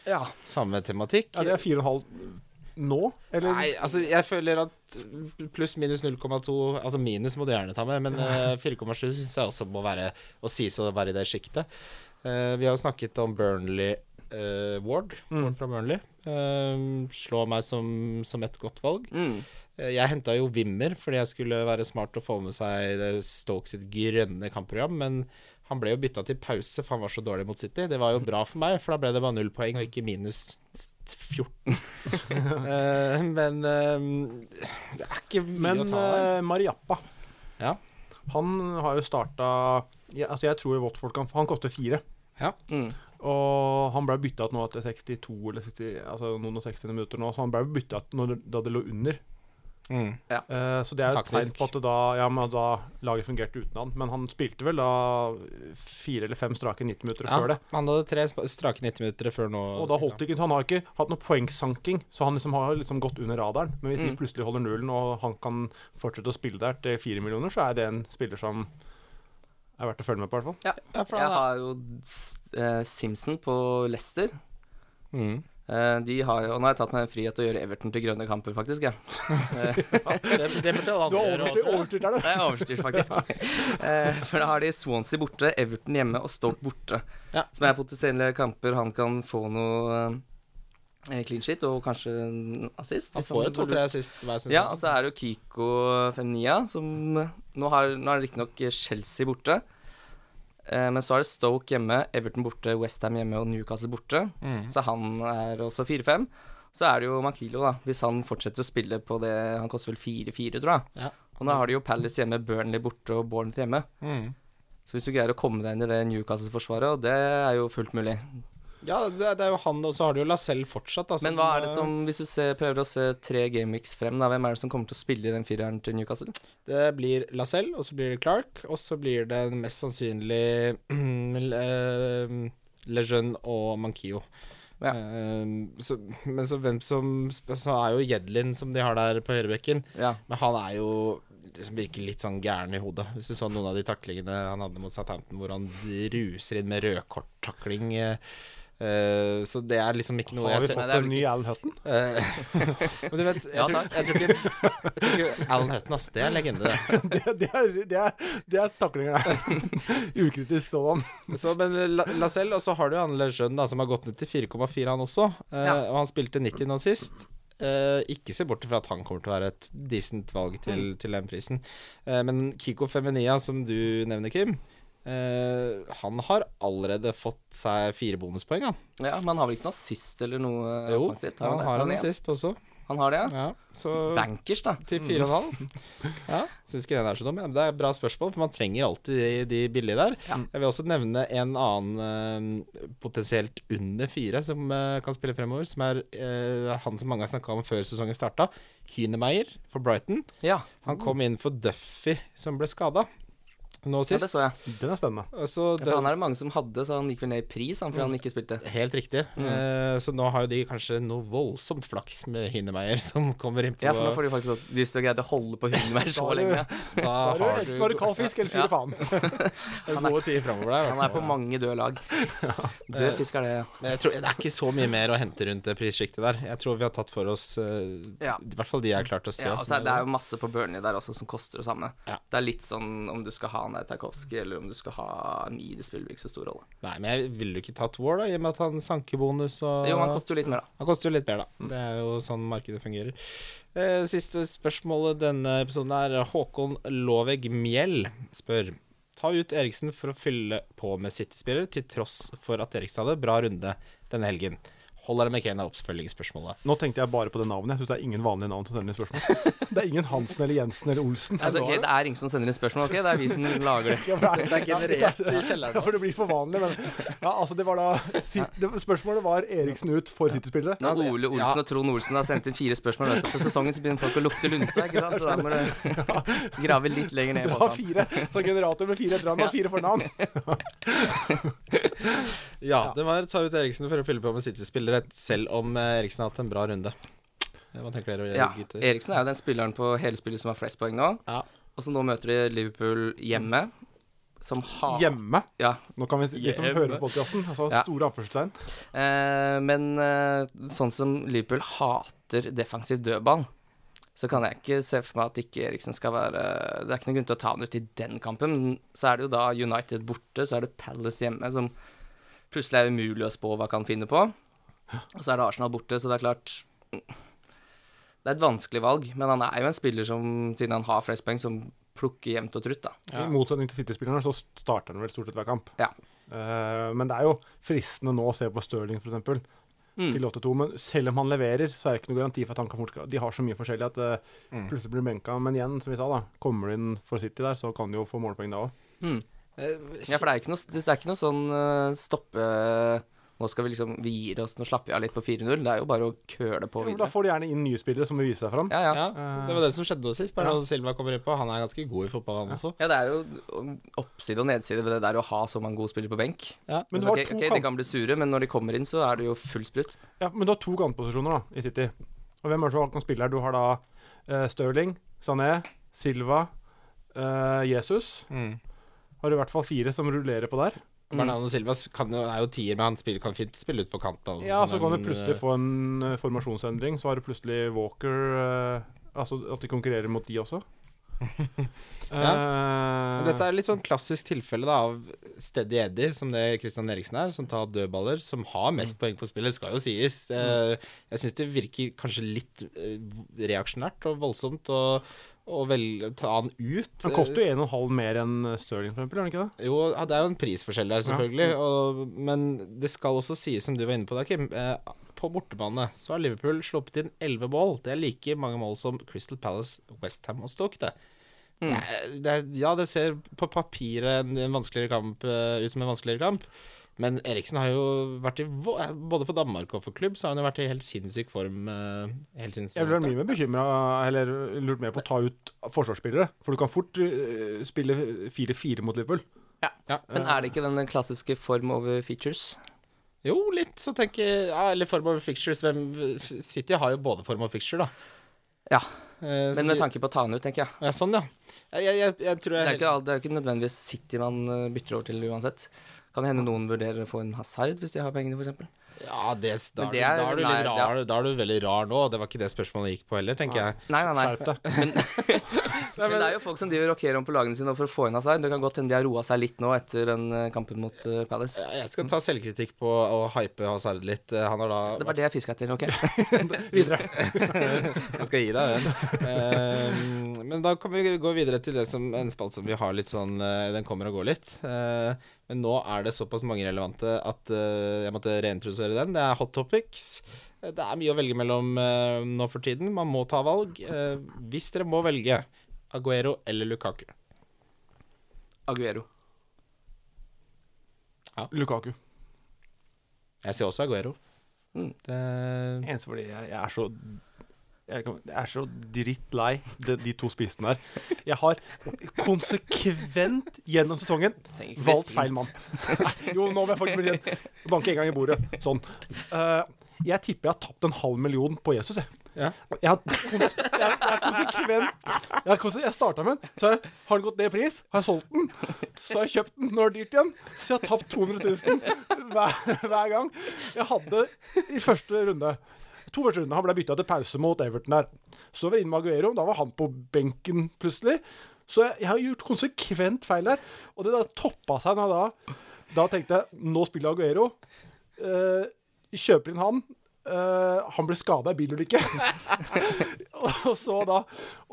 Speaker 3: ja.
Speaker 2: samme tematikk.
Speaker 4: Ja, det er fire og en halv nå, eller?
Speaker 2: Nei, altså jeg føler at pluss minus 0,2 Altså minus må du gjerne ta med, men eh, 4,7 syns jeg også må være å sies å være i det sjiktet. Eh, vi har jo snakket om Burnley eh, Ward, Ward fra Burnley. Eh, slår meg som, som et godt valg.
Speaker 3: Mm.
Speaker 2: Eh, Jeg henta jo Wimmer fordi jeg skulle være smart og få med seg det Stoke sitt grønne kampprogram, men han ble jo bytta til pause, for han var så dårlig mot City. Det var jo bra for meg, for da ble det bare null poeng og ikke minus 14. Eh, men eh, det er ikke mye
Speaker 4: Men
Speaker 2: å ta der.
Speaker 4: eh, Mariappa,
Speaker 2: Ja.
Speaker 4: han har jo starta ja, Altså, jeg tror Watford kan Han koster fire.
Speaker 3: Mm.
Speaker 4: Og han ble bytta ut nå etter 62 eller 60, altså noen og 60 minutter nå, så han ble bytta ut når, det- da det lå under.
Speaker 2: Mm.
Speaker 4: Eh, så det er jo et tegn
Speaker 2: Taktisk.
Speaker 4: på at det da, ja, men da laget fungerte uten han. Men han spilte vel da fire eller fem strake 90 minutter
Speaker 2: Ja,
Speaker 4: før det.
Speaker 2: han hadde tre sp- strake 90 minutter før nå.
Speaker 4: Og da holdt det ikke, så han har ikke hatt noe poengsanking, så han liksom har liksom gått under radaren. Men hvis
Speaker 3: Mm.
Speaker 4: de plutselig holder nullen, og han kan fortsette å spille der til fire millioner, så er det en spiller som er verdt å følge med på, i hvert fall.
Speaker 2: Ja, for
Speaker 3: Jeg
Speaker 2: han er,
Speaker 3: har jo eh, Simpson på Leicester.
Speaker 2: mm.
Speaker 3: Eh, de har jo, og nå har jeg tatt meg en frihet til å gjøre Everton til grønne kamper, faktisk. Jeg.
Speaker 2: det, det burde alle
Speaker 4: Du
Speaker 2: andre
Speaker 4: har
Speaker 2: gjøre. også, tror jeg.
Speaker 4: overstyrt, overstyrt der, du.
Speaker 3: Det er overstyrt, faktisk. Eh, for da har de Swansea borte, Everton hjemme og Stoke borte.
Speaker 2: Ja.
Speaker 3: Som er potensielle kamper han kan få noe eh, clean shit og kanskje en assist.
Speaker 2: Han
Speaker 3: hvis
Speaker 2: får et
Speaker 3: blir-
Speaker 2: to-tre sist hver sesong.
Speaker 3: Ja, altså- og så er det jo Kiko Femnia, som Nå, har, nå er det riktignok Chelsea borte. Eh, men så er det Stoke hjemme, Everton borte, Westham hjemme og Newcastle borte.
Speaker 2: Mm.
Speaker 3: Så han er også 4-5. Så er det jo Makilo, da, hvis han fortsetter å spille på det Han koster vel 4-4, tror jeg.
Speaker 2: Ja.
Speaker 3: Og nå har de jo Palace hjemme, Burnley borte og Bournemouth hjemme.
Speaker 2: Mm.
Speaker 3: Så hvis du greier å komme deg inn i det Newcastle-forsvaret, og det er jo fullt mulig.
Speaker 2: ja det, er- det er jo han, og så har du jo Lacelle fortsatt. da,
Speaker 3: Men
Speaker 2: som,
Speaker 3: hva er det
Speaker 2: eh,
Speaker 3: som Hvis du ser, prøver å se tre gameweeks frem, da, hvem er det som kommer til å spille i den fireren til Newcastle?
Speaker 2: Det blir Lacelle, og så blir det Clark, og så blir det mest sannsynlig Le- eh, Lejeune og Mankio.
Speaker 3: Ja.
Speaker 2: så, men så hvem som Så er jo Jedlin, som de har der på høyrebekken.
Speaker 3: Ja.
Speaker 2: Men han er jo liksom virker litt sånn gæren i hodet. Hvis du så noen av de taklingene han hadde mot Southampton, hvor han ruser inn med rødkorttakling. eh, eh, så det er liksom ikke noe
Speaker 4: Har
Speaker 2: jeg
Speaker 4: vi
Speaker 2: ser
Speaker 3: Nei,
Speaker 4: fått
Speaker 3: det er
Speaker 4: en
Speaker 3: vel
Speaker 4: ny Alan Hutton?
Speaker 2: Eh, Men du vet, jeg,
Speaker 3: Ja,
Speaker 2: tror,
Speaker 3: takk.
Speaker 2: jeg, tror ikke, jeg tror ikke Alan Hutton, ass. Det er en legende, det.
Speaker 4: Det, det er, det er, det er taklinger der. Ukritisk sådan.
Speaker 2: Så, men eh, La- Lacelle, og så har du jo han Lejeune, da, som har gått ned til 4,4, han også. Eh,
Speaker 3: Ja.
Speaker 2: Og han spilte 90 nå sist. Eh, ikke se bort fra at han kommer til å være et decent valg til,
Speaker 3: Mm.
Speaker 2: til den prisen. Eh, men Kiko Feminia, som du nevner, Kim, eh, han har allerede fått seg fire bonuspoeng, han.
Speaker 3: Ja, men han har vel ikke noe assist eller noe eh,
Speaker 2: Jo,
Speaker 3: offensivt?
Speaker 2: han
Speaker 3: det?
Speaker 2: har han
Speaker 3: det?
Speaker 2: sist også.
Speaker 3: Han har det, ja.
Speaker 2: Ja, så
Speaker 3: Bankers, da.
Speaker 2: til fire og en halv. Ja, Syns ikke den er så dum. Ja, men Det er et bra spørsmål, for man trenger alltid de, de billige der.
Speaker 3: Ja.
Speaker 2: Jeg vil også nevne en annen eh, potensielt under fire som eh, kan spille fremover, som er eh, han som mange har snakka om før sesongen starta, Hynemeyer for Brighton.
Speaker 3: Ja,
Speaker 2: Han kom inn for Duffy, som ble skada nå
Speaker 3: ja det
Speaker 2: sist.
Speaker 3: så jeg.
Speaker 4: Den er spennende.
Speaker 2: Så
Speaker 3: Ja,
Speaker 2: det-
Speaker 3: for han er det mange som hadde, så han gikk vel ned i pris han, fordi han ikke spilte.
Speaker 2: Helt riktig.
Speaker 3: Mm.
Speaker 2: Eh, så nå har jo de kanskje noe voldsomt flaks med Hynemeyer, som kommer inn på
Speaker 3: Ja, for nå får de faktisk så lyst til å greie å holde på hunden mer så lenge.
Speaker 2: Da
Speaker 4: Da
Speaker 2: har
Speaker 4: er
Speaker 2: du
Speaker 4: du- da er du kald fisk, eller
Speaker 3: Ja.
Speaker 4: fire faen.
Speaker 2: gode tider fremover der. i hvert
Speaker 3: Han er på
Speaker 2: fall.
Speaker 3: mange døde lag. Død fisk er det. ja.
Speaker 2: Men jeg tror, det er ikke så mye mer å hente rundt det prissjiktet der. Jeg tror vi har tatt for oss eh,
Speaker 3: Ja.
Speaker 2: I hvert fall de jeg har klart å se.
Speaker 3: Ja,
Speaker 2: som
Speaker 3: altså,
Speaker 2: er
Speaker 3: det er jo masse på Burnley der også som koster det samme.
Speaker 2: Ja.
Speaker 3: Det er litt sånn om du skal ha Nei Tarkovskij eller om du skal ha Mi, det spiller ikke så stor rolle.
Speaker 2: Nei, men jeg ville jo ikke tatt War, da, i og med at han sanker bonus og
Speaker 3: Jo, han Mm. koster jo litt mer, da.
Speaker 2: Han koster jo litt mer, da. Det er jo sånn markedet fungerer. Eh, siste spørsmålet denne episoden er eh, Håkon Loveg Mjell spør Ta ut Eriksen for å fylle på med City-spillere, til tross for at Eriksen hadde bra runde denne helgen. Holder det med Kane er oppfølgingsspørsmålet.
Speaker 4: Nå tenkte jeg bare på det navnet. Jeg synes det er ingen vanlige navn som sender inn spørsmål. Det er ingen Hansen eller Jensen eller Olsen.
Speaker 3: Altså, ok, det er ingen som sender inn spørsmål, ok? Det er vi som lager det.
Speaker 4: Ja, for det er-
Speaker 2: generert i
Speaker 4: Ja, for det blir for vanlig, men ja, altså, det var da si- det, Spørsmålet var Eriksen ut for City-spillere.
Speaker 3: Når Ole Olsen og Trond Olsen har sendt inn fire spørsmål i løpet av sesongen, så begynner folk å lukte lunta, ikke sant? Så da må du grave litt lenger ned i
Speaker 4: Dere har
Speaker 3: posen.
Speaker 4: fire. Så generator med fire etter ham og fire fornavn.
Speaker 2: Ja, det var ta ut Eriksen for å fylle på med City-spillere, selv om eh, Eriksen har hatt en bra runde. Eh, Hva tenker dere,
Speaker 3: Ja,
Speaker 2: gutter?
Speaker 3: Eriksen er jo den spilleren på hele spillet som har flest poeng nå.
Speaker 2: Ja.
Speaker 3: Og så nå møter de Liverpool hjemme, som har
Speaker 4: Hjemme.
Speaker 3: Ja.
Speaker 4: Nå kan vi si- de som
Speaker 2: Hjemme.
Speaker 4: hører på podkasten, altså
Speaker 3: Ja.
Speaker 4: store anførselstegn.
Speaker 3: Eh, men eh, sånn som Liverpool hater defensiv dødball, så kan jeg ikke se for meg at ikke Eriksen skal være Det er ikke noen grunn til å ta han ut i den kampen. Men så er det jo da United borte, så er det Palace hjemme, som plutselig er umulig å spå hva kan finne på. Og så er det Arsenal borte, så det er klart Det er et vanskelig valg, men han er jo en spiller som, siden han har flest poeng, som plukker jevnt og trutt, da.
Speaker 2: Ja.
Speaker 4: I motsetning til City-spillerne så starter han vel stort sett hver kamp.
Speaker 3: Ja.
Speaker 4: Eh, men det er jo fristende nå å se på Stirling f.eks.
Speaker 3: Mm.
Speaker 4: til 8-2. Men selv om han leverer, så er det ikke noe garanti for at han kan fortsatt De har så mye forskjellig at det
Speaker 3: Mm.
Speaker 4: plutselig blir benka. Men igjen, som vi sa, da kommer du inn for City der, så kan du jo få målpoeng da òg.
Speaker 3: Mm.
Speaker 2: Eh,
Speaker 3: Ja, for det er ikke noe, det er ikke noe sånn eh, stoppe Nå skal vi liksom Vi gir oss, nå slapper vi av litt på 4-0. Det er jo bare å køle på
Speaker 4: Da
Speaker 3: videre.
Speaker 4: får du gjerne inn nye spillere som vil vise seg fram.
Speaker 3: Ja, ja.
Speaker 2: ja, det var det som skjedde nå sist. Bernardo Silva kommer inn på. Han er ganske god i fotball, han også.
Speaker 3: Ja, det er jo oppside og nedside ved det der å ha så mange gode spillere på benk.
Speaker 2: Ja.
Speaker 4: Men du
Speaker 3: Så,
Speaker 4: har
Speaker 3: ok,
Speaker 4: to
Speaker 3: ok,
Speaker 4: kamp-
Speaker 3: de kan bli sure, men når de kommer inn, så er det jo full sprutt.
Speaker 4: Ja, men du har to kantposisjoner da, i City. Og hvem er det som kan spille her? Du har da eh, Sterling, Sané, Silva, eh, Jesus.
Speaker 2: Mm.
Speaker 4: Og har du i hvert fall fire som rullerer på der.
Speaker 2: Bernardo Silva kan jo, er jo tier, men han spiller, kan fint spille ut på kanten. altså,
Speaker 4: Ja, så kan du plutselig få en eh, formasjonsendring. Så har du plutselig Walker eh, Altså at de konkurrerer mot de også. Eh,
Speaker 2: Men Dette er litt sånn klassisk tilfelle da, av Steady Eddie, som det Christian Eriksen er, som tar dødballer, som har
Speaker 4: Mm.
Speaker 2: mest poeng på spillet, skal jo sies. Eh, Jeg syns det virker kanskje litt eh, reaksjonært og voldsomt å å vel ta han ut.
Speaker 4: Han koster jo 1,5 mer enn Stirling, for eksempel, gjør han ikke det?
Speaker 2: Jo, ja, det er jo en prisforskjell der, selvfølgelig. Og, men det skal også sies, som du var inne på da, Kim. eh, På bortebane så har Liverpool sluppet inn 11 mål. Det er like mange mål som Crystal Palace, Westham og Stoke, det. Det er- Det, er- ja, det ser på papiret en, en vanskeligere kamp eh, ut som en vanskeligere kamp. Men Eriksen har jo vært i vo- eh, Både for Danmark og for klubb så har han jo vært i helt sinnssyk form. eh, Helt sinnssyk
Speaker 4: Jeg ville vært mye mer bekymra, eller lurt mer på å ta ut forsvarsspillere. For du kan fort eh, spille 4-4 mot Liverpool.
Speaker 3: Men er det ikke den eh, klassiske form over features?
Speaker 2: Jo, litt, så tenker jeg ja, Eller form of fixtures. Hvem, City har jo både form og fixture, da.
Speaker 3: Ja,
Speaker 2: Eh, så
Speaker 3: men med
Speaker 2: de-
Speaker 3: tanke på å ta han ut, tenker jeg.
Speaker 2: Ja, sånn, ja. Jeg, jeg, jeg, jeg tror
Speaker 3: Det
Speaker 2: jeg
Speaker 3: er ikke, alt- det er ikke nødvendigvis City man eh, bytter over til uansett. Kan hende noen vurderer å få en Hazard hvis de har pengene, f.eks.
Speaker 2: Ja, det, da,
Speaker 3: Men
Speaker 2: det
Speaker 3: det er-
Speaker 2: er, da, er du litt
Speaker 3: nei,
Speaker 2: rar, da er du veldig rar nå. Det var ikke det spørsmålet jeg gikk på heller, tenker jeg.
Speaker 3: Nei, nei, nei.
Speaker 4: Skjerp deg.
Speaker 3: Men, men det er jo folk som driver og rockerer om på lagene sine for å få inn Hazard. Det kan godt hende de har roa seg litt nå etter den eh, kampen mot eh, Palace.
Speaker 2: Ja, Jeg skal ta selvkritikk på å hype Hazard litt. Eh, Han har da
Speaker 3: Det var det jeg fiska etter, OK?
Speaker 4: Videre.
Speaker 2: Jeg skal gi deg den. Eh, men da kan vi gå videre til det som en spalt som vi har litt sånn eh, Den kommer og går litt. Eh, men nå er det såpass mange relevante at eh, jeg måtte reintrodusere den. Det er hot topics. Eh, Det er mye å velge mellom eh, nå for tiden. Man må ta valg. Eh, hvis dere må velge Aguero eller Lukaku.
Speaker 3: Aguero.
Speaker 4: Lukaku.
Speaker 2: Jeg sier også Aguero.
Speaker 3: Mm.
Speaker 2: Det,
Speaker 4: Eneste fordi jeg, jeg er så jeg, kan- jeg er så drittlei de, de to spissene her. Jeg har konsekvent gjennom sesongen
Speaker 3: Trenger ikke bli
Speaker 4: valgt
Speaker 3: sint.
Speaker 4: feil mann. Nei, Jo, nå må jeg faktisk bli sint. Banke en gang i bordet. Sånn. Eh, jeg tipper jeg har tapt en halv million på Jesus, jeg.
Speaker 2: Ja.
Speaker 4: Jeg har kons- jeg- jeg er konsekvent Jeg, har konse- jeg starta med den, så har jeg- har den gått ned i pris, har jeg solgt den, så har jeg kjøpt den når det er dyrt igjen, så jeg har tapt 200 000 hver, hver gang. Jeg hadde i første runde To første runde, Han ble bytta til pause mot Everton der. Så var jeg inne med Aguero, da var han på benken plutselig. Så jeg, jeg har gjort konsekvent feil der. Og det da toppa seg når jeg da da tenkte jeg nå spiller Aguero. Eh, kjøper inn han. Eh, han ble skada i bilulykke. og så da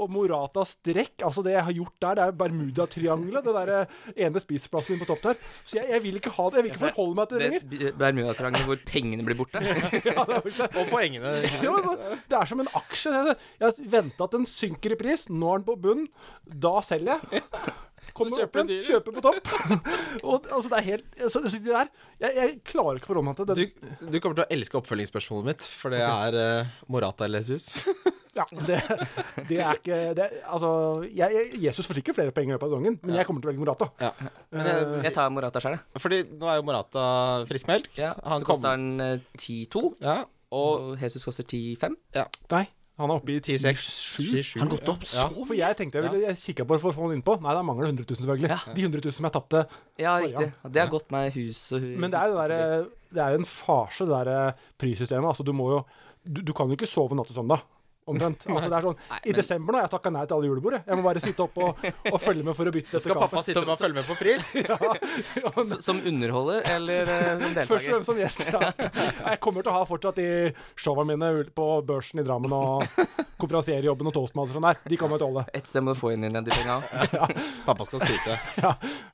Speaker 4: Og Morata strekk. Altså det jeg har gjort der, det er Bermudatriangelet. Det der eh, ene spiseplassen min på topp der. Så jeg, jeg vil ikke ha det. Jeg vil ikke forholde meg til det
Speaker 3: Det
Speaker 4: lenger.
Speaker 3: b- Bermudatriangelet hvor pengene blir borte.
Speaker 4: Ja, det, er jo ikke-
Speaker 2: og poengene.
Speaker 4: det er jo- det er som en aksje. det er det. Jeg har venta at den synker i pris. Nå er den på bunn. Da selger jeg. Kommer
Speaker 2: Så
Speaker 4: opp
Speaker 2: kjøper
Speaker 4: igjen,
Speaker 2: du dyrest.
Speaker 4: kjøper på topp. og altså, det er helt altså, det der, jeg, jeg klarer ikke å forholde meg til det.
Speaker 2: Du, du kommer til å elske oppfølgingsspørsmålet mitt, for det er eh, Morata eller Jesus.
Speaker 4: Ja, det, det er ikke det, Altså, jeg, jeg, Jesus får sikkert flere penger i løpet av sesongen, men jeg kommer til å velge Morata.
Speaker 2: ja. Men jeg,
Speaker 3: Jeg tar Morata sjøl, jeg.
Speaker 2: fordi nå er jo Morata friskmeldt.
Speaker 3: Ja,
Speaker 2: han
Speaker 3: så koster
Speaker 2: kommer
Speaker 3: han eh, 10-2,
Speaker 2: ja, og
Speaker 3: og Jesus koster 10-5.
Speaker 4: Nei, han er oppe i
Speaker 2: 10-6.
Speaker 4: 10-7.
Speaker 2: Har han gått opp så
Speaker 4: For jeg tenkte jeg ville jeg kikket på det for å få han innpå. Nei, da mangler det 100 000, selvfølgelig. De 100 000 som jeg tapte.
Speaker 3: Ja,
Speaker 4: Får
Speaker 3: riktig. Det har gått meg hus og hu-
Speaker 4: Men det er jo eh, det derre- det er jo en farse, det der prissystemet. Altså, du må jo Du, du kan jo ikke sove natt til søndag. Omtrent. Altså, det er sånn,
Speaker 3: Nei,
Speaker 4: I
Speaker 3: men-
Speaker 4: desember nå, jeg takka nei til alle julebord. jeg. Jeg må bare sitte oppe og, og følge med for å bytte
Speaker 2: Skal pappa sitte med og følge med på pris?
Speaker 4: Ja,
Speaker 3: S- Som underholder eller eh, som
Speaker 4: Først og
Speaker 3: deltaker?
Speaker 4: fremst som gjest. Ja. Jeg kommer til å ha fortsatt de showene mine på børsen i Drammen og konferansierjobben og toastmaster og sånn der. De kommer jeg til å holde.
Speaker 3: Et sted må du få inn igjen de penga.
Speaker 2: Pappa skal spise.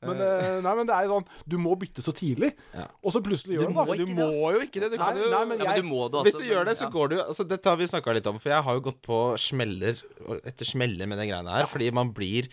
Speaker 4: Men, eh, nei, men det er jo sånn, du må bytte så tidlig,
Speaker 2: Ja.
Speaker 4: og så plutselig gjør du
Speaker 2: Men
Speaker 4: det.
Speaker 2: du må jo ikke det. Du
Speaker 4: Nei,
Speaker 2: kan jo
Speaker 4: nei, men
Speaker 3: Ja, men
Speaker 4: jeg,
Speaker 3: du må det også.
Speaker 2: Hvis du gjør det, så
Speaker 3: ja.
Speaker 2: går du altså, Dette har vi snakka litt om, for jeg har jo gått på smeller og- etter smeller med den greiene her. Fordi man blir,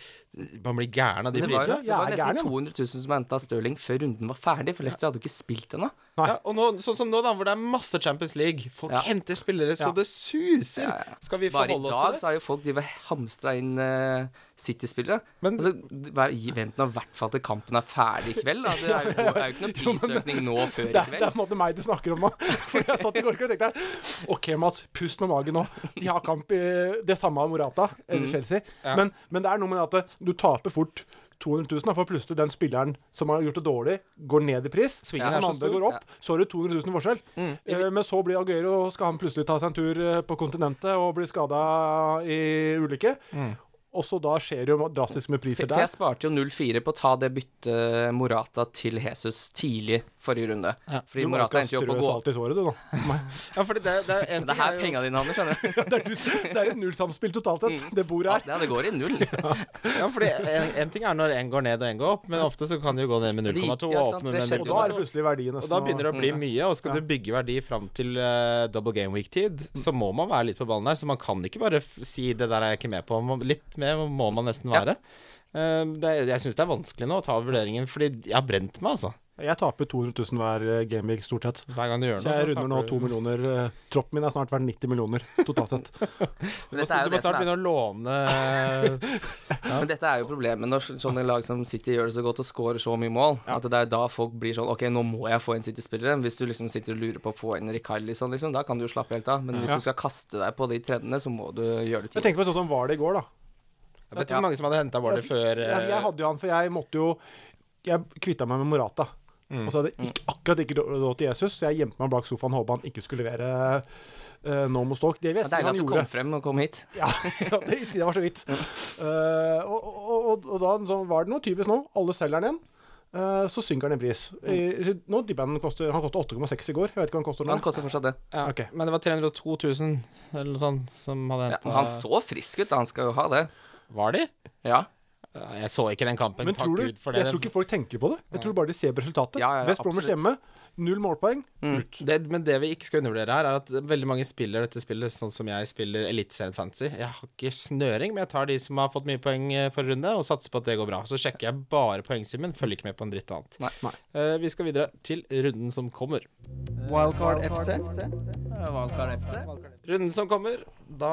Speaker 2: man blir gæren av de
Speaker 3: det var, jo-
Speaker 2: prisene.
Speaker 3: det var
Speaker 4: Jeg er
Speaker 3: nesten
Speaker 4: gæren, ja.
Speaker 3: 200 000 som henta Stirling før runden var ferdig, for Leicester hadde jo ikke spilt ennå.
Speaker 4: Nei.
Speaker 2: Ja, og nå, sånn som nå, da, hvor det er masse Champions League. Folk
Speaker 3: Ja.
Speaker 2: henter spillere så
Speaker 4: Ja.
Speaker 2: det suser.
Speaker 3: Ja, ja.
Speaker 2: Skal vi
Speaker 3: Bare i
Speaker 2: forholde
Speaker 3: dag
Speaker 2: oss til det?
Speaker 3: så har jo folk drevet hamstra inn eh, City-spillere.
Speaker 2: Men-
Speaker 3: Altså, d- vær- gi- Vent nå i hvert fall til kampen er ferdig i kveld. Da. Det er jo, det er jo ikke noen prisøkning nå før
Speaker 4: Det
Speaker 3: i
Speaker 4: er, det er
Speaker 3: kveld.
Speaker 4: på en måte meg du snakker om nå. For jeg satt i går kveld og tenkte OK, Mats, pust med magen nå. De har kamp i det samme av Morata eller Chelsea. Men, men det er noe med at du taper fort 200 000, da, for plutselig den spilleren som har gjort det dårlig, går ned i pris.
Speaker 2: Svingen er
Speaker 4: den
Speaker 2: så
Speaker 4: andre
Speaker 2: stor.
Speaker 4: går opp, så har du 200 000 i forskjell. Eh, men så blir Aguero, og skal han plutselig ta seg en tur eh, på kontinentet og bli skada i ulykke. Og så da skjer det jo drastisk med priser
Speaker 3: For for
Speaker 4: der.
Speaker 3: jeg sparte jo 0-4 på å ta det byttet Morata til Jesus tidlig forrige runde. Fordi
Speaker 4: Du må
Speaker 3: Morata
Speaker 4: skal
Speaker 3: endte jo opp
Speaker 4: strø
Speaker 3: å gå
Speaker 4: salt i såret, du, nå.
Speaker 2: Ja, fordi det, det er en
Speaker 3: Det er
Speaker 2: ting
Speaker 3: her
Speaker 2: er jo-
Speaker 3: penga dine havner, skjønner du.
Speaker 4: Det er, det er et nullsamspill totalt sett, det bordet
Speaker 3: Ja,
Speaker 4: her.
Speaker 3: det går i null.
Speaker 2: Ja, fordi en, en ting er når én går ned og én går opp, men ofte så kan de jo gå ned med
Speaker 3: Det gikk- ja, ikke
Speaker 2: 0,2 og
Speaker 3: sant,
Speaker 2: opp med
Speaker 3: det Mm. skjedde
Speaker 4: Og
Speaker 2: 0,2.
Speaker 4: da er det plutselig verdi nesten.
Speaker 2: Og da begynner det å bli mye, og skal du bygge verdi fram til eh, double game week-tid, så må man være litt på ballen der. Så man kan ikke bare f si 'det der er jeg ikke med på'. Man- Litt med må man nesten
Speaker 3: Ja.
Speaker 2: være. Eh, det, er- jeg syns det er vanskelig nå å ta vurderingen, fordi jeg har brent meg, altså.
Speaker 4: Jeg taper 200 000 hver eh, gameweek, stort sett.
Speaker 2: Hver gang du gjør
Speaker 4: Så
Speaker 2: noe.
Speaker 4: jeg
Speaker 2: så
Speaker 4: runder nå
Speaker 2: taper
Speaker 4: to
Speaker 2: du.
Speaker 4: millioner. eh, Troppen min er snart verdt 90 millioner totalt sett.
Speaker 2: Du
Speaker 3: Men
Speaker 2: må,
Speaker 3: dette er
Speaker 2: du
Speaker 3: jo
Speaker 2: må
Speaker 3: det som
Speaker 2: snart
Speaker 3: er
Speaker 2: begynne å låne
Speaker 3: Men dette er jo problemet når sånne lag som City gjør det så godt og scorer så mye mål. At det er da folk blir sånn Ok, nå må jeg få inn City-spillere. Hvis du liksom sitter og lurer på å få inn Rikarlison, liksom, da kan du jo slappe helt av. Men hvis
Speaker 4: Ja.
Speaker 3: du skal kaste deg på de trendene, så må du gjøre det
Speaker 4: Jeg
Speaker 3: tidlig.
Speaker 4: tenkte på sånn som var det i går, da.
Speaker 2: Jeg vet ikke hvor mange som hadde henta Warley før eh,
Speaker 4: Jeg, jeg hadde jo han, for jeg måtte jo Jeg kvitta meg med Morata. Og så hadde jeg ikke, akkurat ikke råd til Jesus, så jeg gjemte meg bak sofaen og håpa han ikke skulle levere eh, nå mot Stoke. Det
Speaker 3: Det er
Speaker 4: visste jeg
Speaker 3: deilig
Speaker 4: han
Speaker 3: at du
Speaker 4: gjorde.
Speaker 3: kom frem og kom hit.
Speaker 4: Ja, ja det, det var så vidt. Eh, og, og, og, og da så var det noe typisk nå. Alle selger den igjen. eh, så synker den i pris. I- så nå tipper jeg den koster Han koster 8,6 i går. Jeg vet ikke hva den koster nå.
Speaker 3: Han koster fortsatt det.
Speaker 2: ja,
Speaker 4: ok.
Speaker 2: Men det var 302 000 eller noe sånt som hadde
Speaker 3: Ja,
Speaker 2: henta
Speaker 3: men han så frisk ut, da. Han skal jo ha det.
Speaker 2: Var de?
Speaker 3: Ja.
Speaker 2: Ja, Jeg så ikke den kampen,
Speaker 4: Men
Speaker 2: takk
Speaker 4: tror du,
Speaker 2: Gud for det.
Speaker 4: jeg tror ikke folk tenker på det. Jeg tror bare de ser på resultatet.
Speaker 3: Ja, ja, ja,
Speaker 4: West Bromwich
Speaker 3: absolutt.
Speaker 4: hjemme, null målpoeng. Ut.
Speaker 2: det, men det vi ikke skal undervurdere her, er at veldig mange spiller dette spillet sånn som jeg spiller Eliteserien Fantasy. Jeg har ikke snøring, men jeg tar de som har fått mye poeng eh, forrige runde, og satser på at det går bra. Så sjekker jeg bare poengsummen, følger ikke med på en dritt annet.
Speaker 3: Nei.
Speaker 2: Eh, vi skal videre til runden som kommer.
Speaker 1: Wildcard FC.
Speaker 3: Valgkar FC.
Speaker 2: Runden som kommer, da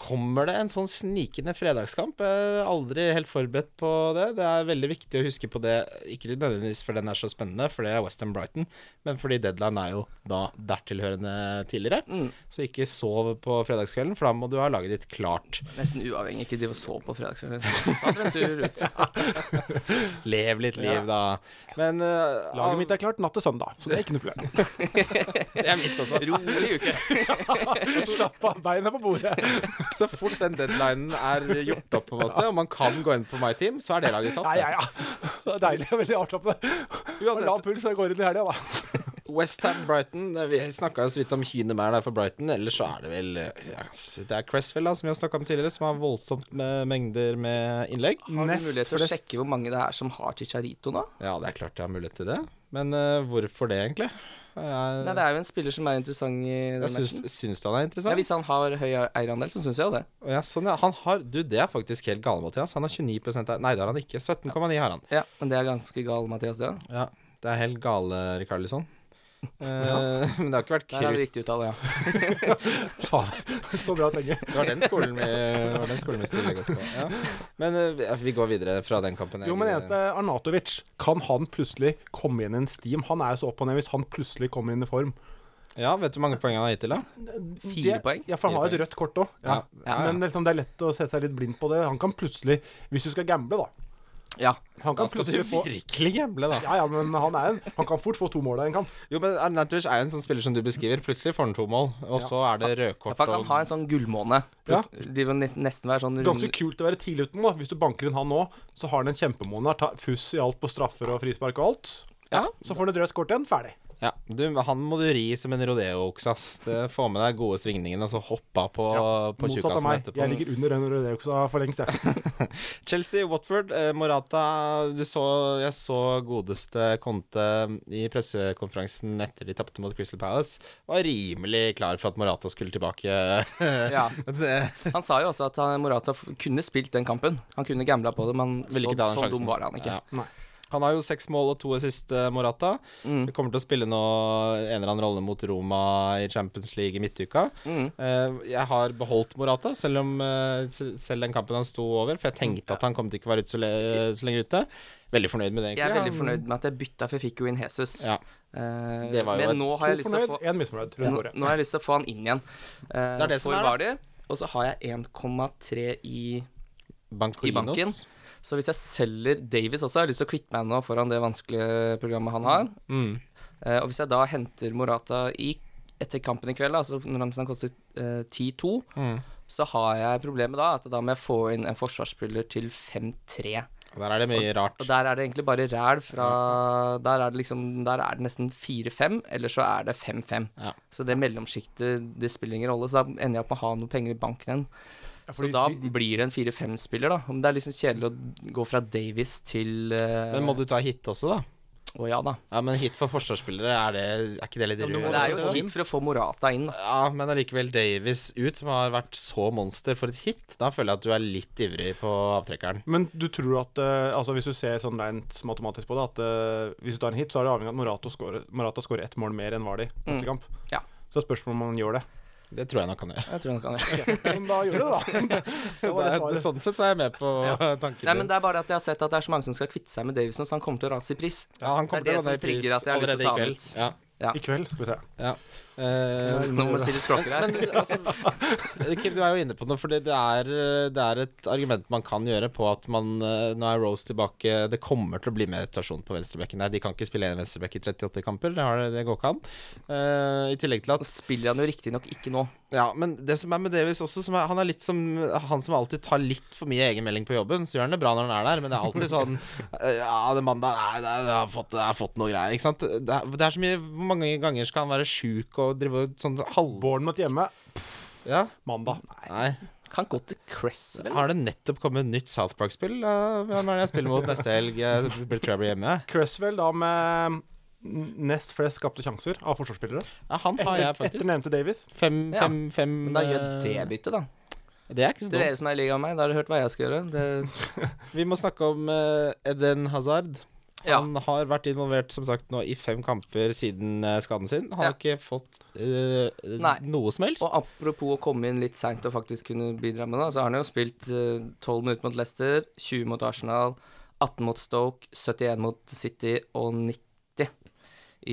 Speaker 2: kommer det en sånn snikende fredagskamp. Jeg er aldri helt forberedt på det. Det er veldig viktig å huske på det, ikke nødvendigvis fordi den er så spennende, for det er Westham Brighton, men fordi deadline er jo da dertilhørende tidligere.
Speaker 3: Mm.
Speaker 2: Så ikke sov på fredagskvelden, for da må du ha laget ditt klart.
Speaker 3: Nesten uavhengig. Ikke drive og sove på fredagskvelden. Ta dere en tur ut.
Speaker 2: Lev litt liv, da. Men eh, av-
Speaker 4: Laget mitt er klart natt til søndag, så det er ikke noe problem.
Speaker 2: det er mitt også.
Speaker 3: Rolig uke.
Speaker 4: Slapp av, beina på bordet.
Speaker 2: Så fort den deadlinen er gjort opp, på en måte, og man kan gå inn på My Team, så er det laget satt. det.
Speaker 4: Ja, ja, ja. Det er deilig. Veldig avslappende.
Speaker 2: Uansett.
Speaker 4: Lav puls og går inn i helga, da.
Speaker 2: Westham Brighton. eh, Vi snakka så vidt om Hynemær der for Brighton. Ellers så er det vel eh, ja, Det er Cresswell, da, som vi har snakka om tidligere, som har voldsomt med mengder med innlegg.
Speaker 3: Har du mulighet til å sjekke hvor mange det er som har Chicharito nå?
Speaker 2: Ja, det er klart jeg har mulighet til det. Men eh, hvorfor det, egentlig? Jeg,
Speaker 3: Nei, det er jo en spiller som er interessant i den
Speaker 2: jeg syns,
Speaker 3: matchen.
Speaker 2: syns du han er
Speaker 3: Ja,
Speaker 2: interessant?
Speaker 3: hvis han har høy eierandel, så syns jeg jo det.
Speaker 2: Å, Ja, sånn, ja. Han har Du, det er faktisk helt gale, Mathias. Han har 29 av Nei, det har han ikke. 17,9 har han.
Speaker 3: Ja, Men det er ganske gal, Mathias Døen.
Speaker 2: Ja, Det er helt gale, Rikarlisson. Men det har ikke vært
Speaker 3: Der er det
Speaker 2: krutt.
Speaker 3: riktig uttale, ja.
Speaker 4: Faen, så bra tenke.
Speaker 2: Det var den skolen vi, det var den skolen vi skulle legge oss på. Ja. Men eh, vi går videre fra den kampen.
Speaker 4: Jo, men eneste er Arnatovic. Kan han plutselig komme inn i en steam? Han er jo så opp og ned hvis han plutselig kommer inn i form.
Speaker 2: Ja, vet du hvor mange poeng han har gitt til, da?
Speaker 3: Fire
Speaker 4: Det-
Speaker 3: poeng?
Speaker 4: Ja, for han
Speaker 2: Fire
Speaker 4: har jo et rødt kort òg. Ja.
Speaker 2: Ja, ja.
Speaker 4: Men liksom, det er lett å se seg litt blind på det. Han kan plutselig, hvis du skal gamble, da
Speaker 3: ja.
Speaker 4: Han
Speaker 2: Da
Speaker 4: kan
Speaker 2: skal du
Speaker 4: plutselig få
Speaker 2: virkelig gamble, da.
Speaker 4: ja, ja, men han, er en, han kan fort få to mål av en kamp.
Speaker 2: Jo, men Arnautovic er jo en sånn spiller som du beskriver. Plutselig får han to mål, og så er det
Speaker 3: Ja,
Speaker 2: rødkort
Speaker 3: For han kan
Speaker 2: og
Speaker 3: ha en sånn gullmåne.
Speaker 4: Ja.
Speaker 3: De vil nesten, nesten være sånn
Speaker 4: Ganske
Speaker 3: rund
Speaker 4: kult å være tidlig uten. da Hvis du banker inn han nå, så har han en kjempemåned. Ta fuss i alt på straffer og frispark og alt.
Speaker 2: Ja.
Speaker 4: Så får han et rødt kort igjen. Ferdig.
Speaker 2: ja. Du, han må du ri som en rodeookse, ass. Det Få med deg gode svingningene, og så hoppa på, på
Speaker 4: Motsatt av
Speaker 2: tjukkasen
Speaker 4: meg.
Speaker 2: etterpå.
Speaker 4: Jeg ligger under den Rødeoksa for lengst, jeg.
Speaker 2: Chelsea, Watford, eh, Morata du så, Jeg så godeste Conte um, i pressekonferansen etter de tapte mot Crystal Palace. Var rimelig klar for at Morata skulle tilbake.
Speaker 3: Ja.
Speaker 2: det,
Speaker 3: Han sa jo også at han- Morata f- kunne spilt den kampen. Han kunne gambla på det, men
Speaker 2: Ville
Speaker 3: så,
Speaker 2: ikke ta den
Speaker 3: så
Speaker 2: sjansen.
Speaker 3: dum var han ikke.
Speaker 2: Ja. Han har jo seks mål og to assist, eh, Morata.
Speaker 3: Mm.
Speaker 2: Vi kommer til å spille nå en eller annen rolle mot Roma i Champions League i midtuka.
Speaker 3: Mm.
Speaker 2: Eh, Jeg har beholdt Morata, selv om eh, se- selv den kampen han sto over. For jeg tenkte at han kom til ikke å være ute så, le så lenge ute. Veldig fornøyd med det, egentlig.
Speaker 3: Jeg er veldig
Speaker 2: Han-
Speaker 3: fornøyd med at jeg bytta, for jeg fikk jo inn Jesus.
Speaker 2: Ja.
Speaker 3: Eh,
Speaker 2: Det var jo et-
Speaker 3: men nå
Speaker 4: To
Speaker 3: har jeg lyst til å
Speaker 4: fornøyd,
Speaker 3: få
Speaker 4: én misfornøyd. Rundt
Speaker 3: Nå,
Speaker 4: bordet.
Speaker 3: nå har jeg lyst til å få han inn igjen. Eh,
Speaker 2: Det er det som
Speaker 3: for
Speaker 2: er, da.
Speaker 3: Vardy, Og så har jeg 1,3 i
Speaker 2: Bankinos.
Speaker 3: I banken. Så hvis jeg selger Davies også, jeg har lyst til å kvitte meg nå foran det vanskelige programmet han har.
Speaker 2: Mm.
Speaker 3: Eh, og hvis jeg da henter Morata i, etter kampen i kveld, da, altså når Ramsen koster eh, 10-2,
Speaker 2: Mm.
Speaker 3: så har jeg problemet da at da må jeg få inn en forsvarsspiller til 5-3.
Speaker 2: Og Der er det mye rart.
Speaker 3: Og der er det egentlig bare ræl fra Der er det liksom Der er det nesten 4-5, eller så er det 5-5.
Speaker 2: Ja.
Speaker 3: Så det mellomsjiktet, det spiller ingen rolle. Så da ender jeg opp med å ha noe penger i banken igjen. Så
Speaker 4: fordi
Speaker 3: da
Speaker 4: de-
Speaker 3: blir det en 4-5-spiller, da. Men det er liksom kjedelig å gå fra Davies til eh,
Speaker 2: Men må du ta hit også, da?
Speaker 3: Å ja da.
Speaker 2: Ja, men hit for forsvarsspillere, er, det, er ikke det litt
Speaker 4: Ja, men du
Speaker 2: rød?
Speaker 4: må
Speaker 3: Men det er jo
Speaker 4: ta
Speaker 3: hit for å få Morata inn, da.
Speaker 2: Ja, men allikevel Davies ut, som har vært så monster for et hit. Da føler jeg at du er litt ivrig på avtrekkeren.
Speaker 4: Men du tror at eh, altså Hvis du ser sånn rent matematisk på det, at eh, hvis du tar en hit, så er det avhengig av at Morata scorer, Morata scorer ett mål mer enn Vardi neste kamp.
Speaker 3: Ja.
Speaker 4: Så spørsmålet om han gjør det.
Speaker 2: Det tror jeg nok han gjør.
Speaker 3: Jeg tror nok han gjør det.
Speaker 4: Men da gjør det, da. Det var det
Speaker 2: Det er-
Speaker 4: svaret.
Speaker 2: sånn sett så er jeg med på
Speaker 3: Ja.
Speaker 2: tanken
Speaker 3: Nei,
Speaker 2: din.
Speaker 3: men det er bare at jeg har sett at det er så mange som skal kvitte seg med Davison, så han kommer til å rase i pris.
Speaker 2: ja, han kommer
Speaker 3: det er
Speaker 2: til å
Speaker 3: det
Speaker 2: gå ned
Speaker 3: som
Speaker 2: i
Speaker 3: trigger
Speaker 2: pris
Speaker 3: at jeg har lyst
Speaker 2: allerede
Speaker 3: til å
Speaker 2: i
Speaker 3: ta han
Speaker 2: kveld.
Speaker 3: ut.
Speaker 2: Ja.
Speaker 4: I kveld, skal vi se.
Speaker 2: ja. Eh,
Speaker 3: Nå må det stilles klokker her.
Speaker 2: men altså, Kim, du er jo inne på noe, for det er, eh, det er et argument man kan gjøre på at man eh, Nå er Rose tilbake Det kommer til å bli mer rotasjon på venstrebekken der. De kan ikke spille en venstrebekk i 38 kamper, det, har, det går ikke an. Eh, I tillegg til at
Speaker 3: Nå spiller han jo riktignok ikke nå.
Speaker 2: Ja, men det som er med Davis også, som er, han er litt som han som alltid tar litt for mye egenmelding på jobben. Så gjør han det bra når han er der, men det er alltid sånn eh, Ja, det er mandag Nei, det er, jeg, har fått, jeg har fått noe greier. Ikke sant? Det er, det er så mye Hvor mange ganger skal han være sjuk og drive og sånn halv...
Speaker 4: Bournemouth hjemme
Speaker 2: Ja?
Speaker 4: mandag.
Speaker 2: Nei.
Speaker 3: Kan gå til Cress, vel?
Speaker 2: Har det nettopp kommet nytt South Park-spill? Eh, Hvem er det jeg spiller mot neste helg? Jeg blir- tror jeg blir hjemme.
Speaker 4: Cresswell da med mm, nest flest skapte sjanser av forsvarsspillere.
Speaker 2: Ja, han har jeg
Speaker 4: Etter, etter
Speaker 2: faktisk.
Speaker 4: nevnte Davies.
Speaker 2: Fem,
Speaker 3: Ja,
Speaker 2: fem, fem
Speaker 3: Men da gjør
Speaker 2: eh,
Speaker 3: det byttet, da.
Speaker 2: Det er ikke så
Speaker 3: Til dere
Speaker 2: dumt.
Speaker 3: som er i liga med meg, da har dere hørt hva jeg skal gjøre. Det,
Speaker 2: Vi må snakke om eh, Eden Hazard.
Speaker 3: ja.
Speaker 2: Han har vært involvert som sagt nå i fem kamper siden eh, skaden sin. Han har
Speaker 3: Ja.
Speaker 2: ikke fått eh,
Speaker 3: Nei.
Speaker 2: noe som helst.
Speaker 3: Og apropos å komme inn litt seint og faktisk kunne bidra med det, så har han jo spilt eh, 12 minutter mot Leicester, 20 mot Arsenal, 18 mot Stoke, 71 mot City og 90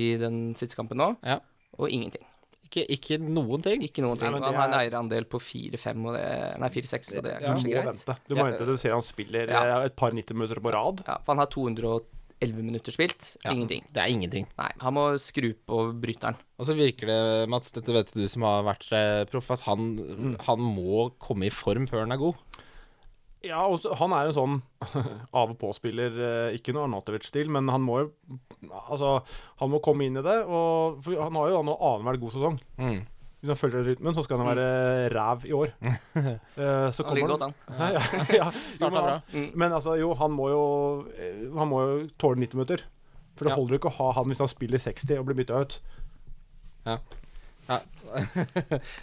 Speaker 3: i den siste kampen nå.
Speaker 2: Ja.
Speaker 3: Og ingenting.
Speaker 2: Ikke, ikke noen ting.
Speaker 3: Ikke noen ting.
Speaker 4: Nei, men
Speaker 3: og han
Speaker 4: det
Speaker 3: har en
Speaker 4: er-
Speaker 3: eierandel på 4-5, og det Nei, 4-6, så det er
Speaker 2: Ja.
Speaker 4: Du
Speaker 3: kanskje
Speaker 4: må
Speaker 3: greit.
Speaker 4: vente. Du må vente til du ser han spiller
Speaker 3: Ja.
Speaker 4: eh, et par 90 minutter på rad.
Speaker 3: Ja, for han har 211 minutter spilt.
Speaker 2: Ja,
Speaker 3: Ingenting.
Speaker 2: Det er ingenting.
Speaker 3: Nei, han må skru på bryteren.
Speaker 2: Og så virker det, Mats, dette vet du som har vært eh, proff, at han,
Speaker 3: Mm.
Speaker 2: han må komme i form før han er god.
Speaker 4: Ja, og så- han er en sånn av og på-spiller, eh, ikke noe Arnatovic-stil, men han må jo Altså, han må komme inn i det, og for han har jo da nå annenhver god sesong. Hvis han følger rytmen, så skal han være ræv i år. Eh, så
Speaker 3: Han ligger godt
Speaker 4: kommer
Speaker 3: an. Mm.
Speaker 4: han. Ja, ja, ja. Jo, men,
Speaker 2: bra.
Speaker 4: han- men altså, jo, han må jo eh, Han må jo tåle 90 minutter. For det
Speaker 2: Ja.
Speaker 4: holder jo ikke å ha han hvis han spiller 60 og blir bytta ut.
Speaker 2: Ja.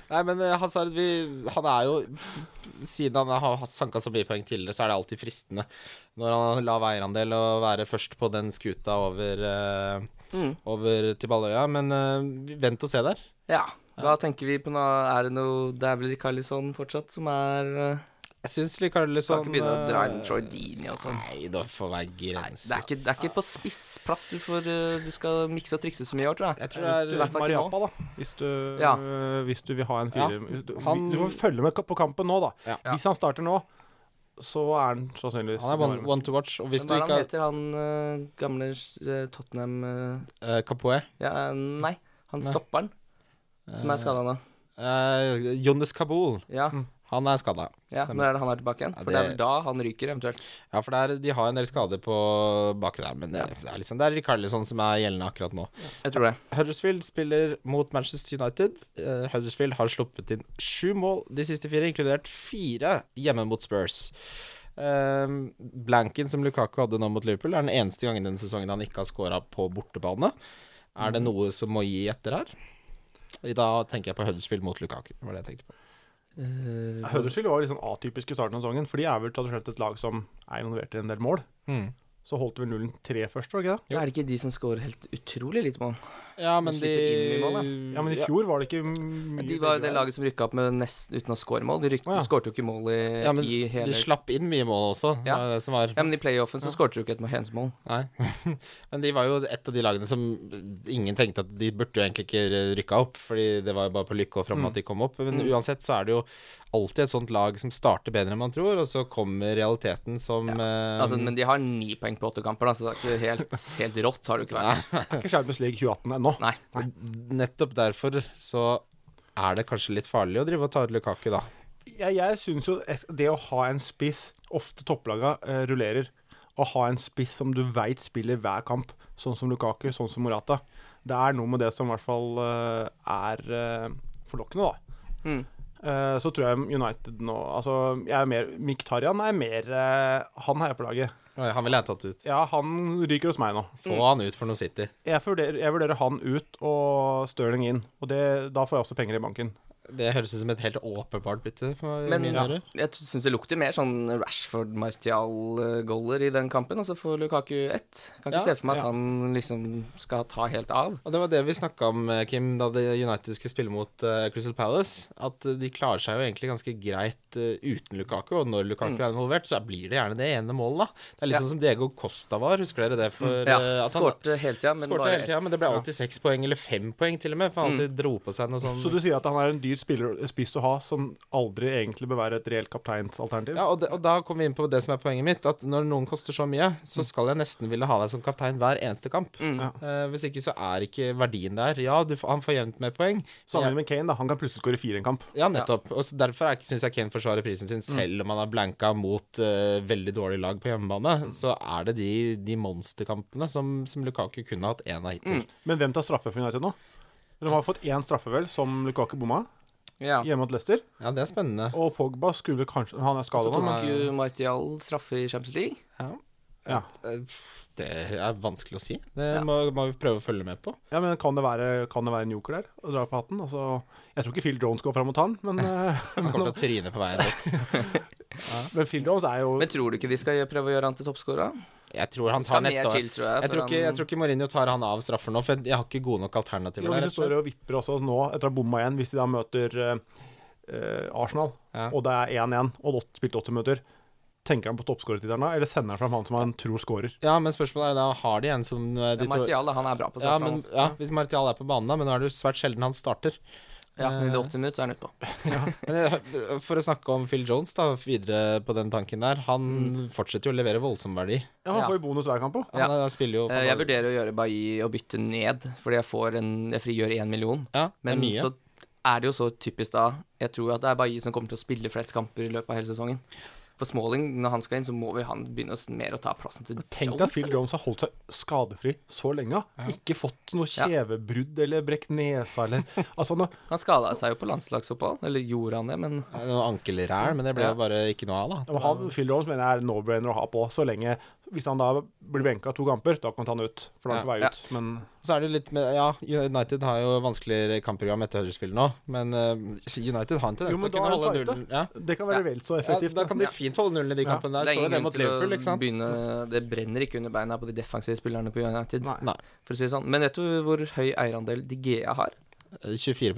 Speaker 2: Nei, men eh, Hazard vi, Han er jo Siden han har sanka så mye poeng tidligere, så er det alltid fristende når han har lav eierandel å være først på den skuta over, eh,
Speaker 3: Mm.
Speaker 2: over til Balløya. Men eh, vi- vent og se der.
Speaker 3: Ja. Hva tenker vi på nå? Er det noe Det er vel Rikarlison fortsatt som er eh,
Speaker 2: Jeg syns Likarlison
Speaker 3: Skal ikke begynne å dra inn Troy Deeney og sånn.
Speaker 2: liksom, eh, Nei, det får være
Speaker 3: Nei,
Speaker 2: grenser.
Speaker 3: det er ikke, det er ikke på spissplass du får eh, Du skal mikse og trikse så mye i år, tror jeg.
Speaker 2: Jeg tror det er
Speaker 3: hvert fall ikke nå.
Speaker 4: Mariapa, da. Hvis du,
Speaker 3: Ja.
Speaker 4: hvis du vil ha en fire du,
Speaker 2: han-
Speaker 4: du får følge med på kampen nå, da.
Speaker 2: Ja.
Speaker 4: Hvis han starter nå, så er han sannsynligvis
Speaker 2: han er one, one to watch. Og hvis
Speaker 3: Men
Speaker 2: du
Speaker 3: hva er han
Speaker 2: ikke har
Speaker 3: heter han eh, gamle eh, Tottenham eh,
Speaker 2: uh, Kapoe
Speaker 3: Ja, eh, nei. Han
Speaker 2: Nei. Eh,
Speaker 3: stopperen som er skada nå.
Speaker 2: uh, Jonis Kabul,
Speaker 3: Ja,
Speaker 2: han er skada.
Speaker 3: ja, når er det han er tilbake igjen?
Speaker 2: mm,
Speaker 3: For
Speaker 2: Ja,
Speaker 3: det er
Speaker 2: det-
Speaker 3: vel da han ryker, eventuelt.
Speaker 2: Ja, for der, de har en del skader på baki der, men det, det er liksom Det er Rikarlison som er gjeldende akkurat nå.
Speaker 3: Jeg tror det.
Speaker 2: Huddersfield spiller mot Manchester United. Eh, Huddersfield har sluppet inn sju mål de siste fire, inkludert fire hjemme mot Spurs. Eh, blanken som Lukaku hadde nå mot Liverpool, er den eneste gangen denne sesongen han ikke har scora på bortebane. Er
Speaker 3: Mm.
Speaker 2: det noe som må gi etter her? Da tenker jeg på Huddersfield mot Lukaku. Var det jeg tenkte på.
Speaker 3: Eh,
Speaker 4: Huddersfield var litt sånn atypisk i starten av sesongen, for de er vel tradisjonelt et lag som er involvert i en del
Speaker 3: Mm.
Speaker 4: mål. Så holdt vel nullen tre først, var det ikke det?
Speaker 3: er det ikke de som scorer helt utrolig lite mål?
Speaker 2: Ja, men de
Speaker 3: slipper inn mye mål,
Speaker 4: Ja, men i fjor var det ikke mye
Speaker 3: De var jo det
Speaker 4: bedre.
Speaker 3: laget som rykka opp med nesten uten å score mål. De ryk,
Speaker 4: Å, ja.
Speaker 3: skårte jo ikke mål i,
Speaker 2: Ja, men
Speaker 3: i hele
Speaker 2: de slapp inn mye mål også.
Speaker 3: Ja.
Speaker 2: Ja. Det var det som var
Speaker 3: Ja, men i playoffen så skårte du ikke et handsmål.
Speaker 2: Nei. Men de var jo et av de lagene som ingen tenkte at de burde jo egentlig ikke rykka opp, fordi det var jo bare på lykke og framme at de kom opp. Men uansett så er det jo alltid et sånt lag som starter bedre enn man tror, og så kommer realiteten som eh,
Speaker 3: Altså, men de har ni poeng på åtte kamper, da, så det er ikke helt, helt rått har det jo ikke vært.
Speaker 4: Det er ikke Champions League 2018 ennå.
Speaker 3: Nei.
Speaker 2: Nettopp derfor så er det kanskje litt farlig å drive og ta ut Lukaku, da.
Speaker 4: Jeg, jeg syns jo et- det å ha en spiss Ofte topplaga eh, rullerer. Å ha en spiss som du veit spiller hver kamp, sånn som Lukaku, sånn som Morata. Det er noe med det som i hvert fall eh, er eh, forlokkende, da.
Speaker 3: Mm.
Speaker 4: Eh, så tror jeg United nå Altså, jeg er mer Mkhitaryan er mer eh, Han heier på laget.
Speaker 2: Oi, han ville jeg tatt ut.
Speaker 4: Ja, han ryker hos meg nå.
Speaker 2: Få han ut for noe City.
Speaker 4: Jeg vurderer, jeg vurderer han ut og Stirling inn. Og det, da får jeg også penger i banken.
Speaker 2: Det høres ut som et helt åpenbart bytte for
Speaker 3: Men
Speaker 2: mine
Speaker 3: ja,
Speaker 2: ører.
Speaker 3: jeg syns det lukter mer sånn Rashford-Martial-goller i den kampen, og så får Lukaku ett. Kan ikke
Speaker 2: Ja,
Speaker 3: se for meg at
Speaker 4: ja.
Speaker 3: han liksom skal ta helt av.
Speaker 2: Og Det var det vi snakka om, eh, Kim, da det United skulle spille mot eh, Crystal Palace. At eh, de klarer seg jo egentlig ganske greit eh, uten Lukaku. Og når Lukaku er involvert, så blir det gjerne det ene målet, da. Det er litt
Speaker 3: Mm. Ja. Mm.
Speaker 2: sånn som Diego Costa var, husker dere det? For,
Speaker 3: Ja,
Speaker 2: eh, at han
Speaker 3: skårte hele tida, men
Speaker 2: skårte
Speaker 3: bare
Speaker 2: hele
Speaker 3: ett. Mm.
Speaker 2: tida, men det ble alltid seks poeng, eller fem poeng til og med, for han alltid dro på seg noe sånn
Speaker 4: Så du sier at han er en dyr spiller, spiss å ha, som aldri egentlig bør være et reelt kapteinsalternativ?
Speaker 2: ja, og, det- og da kommer vi inn på det som er poenget mitt, at når noen koster så mye,
Speaker 3: Mm.
Speaker 2: så skal jeg nesten ville ha deg som kaptein hver eneste kamp.
Speaker 4: Ja.
Speaker 2: Eh, hvis ikke så er ikke verdien der. Ja, du, f- han får jevnt med poeng. men jeg-
Speaker 4: Sammenlignet med Kane, da. Han kan plutselig skåre fire i en kamp.
Speaker 2: Ja, nettopp. Og så Derfor er- synes jeg Kane forsvarer prisen
Speaker 3: Mm.
Speaker 2: sin, selv om han har blanka mot eh, veldig dårlig lag på hjemmebane.
Speaker 3: Mm.
Speaker 2: Så er det de, de monsterkampene som, som Lukaku kunne hatt én av hittil.
Speaker 3: Mm.
Speaker 4: Men hvem tar straffe for United nå? De har fått én straffe, vel, som Lukaku bomma,
Speaker 3: Ja.
Speaker 4: hjemme mot Leicester.
Speaker 2: Ja, det er spennende.
Speaker 4: Og Pogba skulle vel kanskje Han er skada
Speaker 3: Så
Speaker 4: nå,
Speaker 3: tok
Speaker 4: men
Speaker 3: jo Martial straffe i Champions League.
Speaker 4: ja.
Speaker 2: Eh, Det er vanskelig å si. Det må, må vi prøve å følge med på.
Speaker 4: ja, men kan det, være, kan det være en joker der å dra på hatten? Altså, jeg tror ikke Phil Jones går fram mot han, men, eh,
Speaker 2: Han kommer til å tryne på veien opp.
Speaker 4: men Phil Jones er jo
Speaker 3: Men tror du ikke de skal gjøre- prøve å gjøre han til toppskåra?
Speaker 2: Jeg tror han
Speaker 3: Skal
Speaker 2: tar
Speaker 3: mer
Speaker 2: neste år.
Speaker 3: til, tror jeg.
Speaker 2: Jeg
Speaker 3: for
Speaker 2: tror, ikke,
Speaker 3: han-
Speaker 2: jeg tror ikke Mourinho tar han av straffer nå, for jeg har ikke gode nok alternativer
Speaker 4: Jo,
Speaker 2: der. rett
Speaker 4: hvis de
Speaker 2: og slett.
Speaker 4: står og vipper også nå, etter å ha bomma igjen, hvis de da møter eh, eh, Arsenal,
Speaker 2: Ja.
Speaker 4: og det er 1-1, og Lott spilte 80 minutter, tenker han på toppskårertittelen da, eller sender han fram han som han tror skårer?
Speaker 2: Ja, men spørsmålet er da, har de en som eh,
Speaker 3: Ja,
Speaker 2: de tror
Speaker 3: Martial, da, han er bra på
Speaker 2: ja,
Speaker 3: straffe. altså.
Speaker 2: men,
Speaker 3: han også.
Speaker 2: ja, Hvis Martial er på banen, da, men nå er det jo svært sjelden han starter.
Speaker 3: ja, men i det 80 minutter er han utpå.
Speaker 2: Men jeg- For å snakke om Phil Jones da videre på den tanken der.
Speaker 3: Mm.
Speaker 2: Han fortsetter jo å levere voldsom verdi.
Speaker 4: Ja, han
Speaker 3: Ja.
Speaker 4: får jo bonus hver kamp òg.
Speaker 2: Han eh, spiller jo
Speaker 3: Eh, Jeg vurderer å gjøre Bailly og bytte ned, fordi jeg, får en, jeg frigjør én million.
Speaker 2: ja, det
Speaker 3: Men
Speaker 2: er mye.
Speaker 3: så er det jo så typisk da Jeg tror at det er Bailly som kommer til å spille flest kamper i løpet av hele sesongen. For Smalling, når han skal inn, så må vi han begynne å s- mer å ta plassen til
Speaker 4: Tenk
Speaker 3: Jones.
Speaker 4: deg at Phil
Speaker 3: eller?
Speaker 4: Jones har holdt seg skadefri så lenge. Ikke fått noe kjevebrudd eller brekt nesa eller Altså, han har-
Speaker 3: Han skada seg jo på landslagsopphold, eller gjorde han det, men
Speaker 2: Det er Noen ankelræl, men det ble
Speaker 3: Ja.
Speaker 2: jo bare ikke noe av, da.
Speaker 4: han, har- Phil Jones mener jeg er no-brainer å ha på så lenge Hvis han da blir benka to kamper, da kan han ta han ut. For da er han på vei
Speaker 3: Ja.
Speaker 4: ut. Men
Speaker 2: Så er det litt med Ja, United har jo vanskeligere kampprogram etter Huddersfield nå, men eh, United har en
Speaker 4: Jo,
Speaker 2: tendens til
Speaker 4: men
Speaker 2: å
Speaker 4: da
Speaker 2: kunne
Speaker 4: er
Speaker 2: holde
Speaker 4: det på
Speaker 2: nullen. Ja.
Speaker 4: det kan være
Speaker 3: Ja.
Speaker 4: vel så
Speaker 2: Ja,
Speaker 4: effektivt.
Speaker 2: da kan de
Speaker 4: nesten.
Speaker 2: fint holde nullen i de
Speaker 4: Ja.
Speaker 2: kampene der. Så jo det mot Liverpool, ikke sant?
Speaker 3: begynne Det brenner ikke under beina på de defensive spillerne på United,
Speaker 4: Nei.
Speaker 2: Nei.
Speaker 3: for å si det sånn. Men vet du hvor høy eierandel De Gea har?
Speaker 2: Eh, 24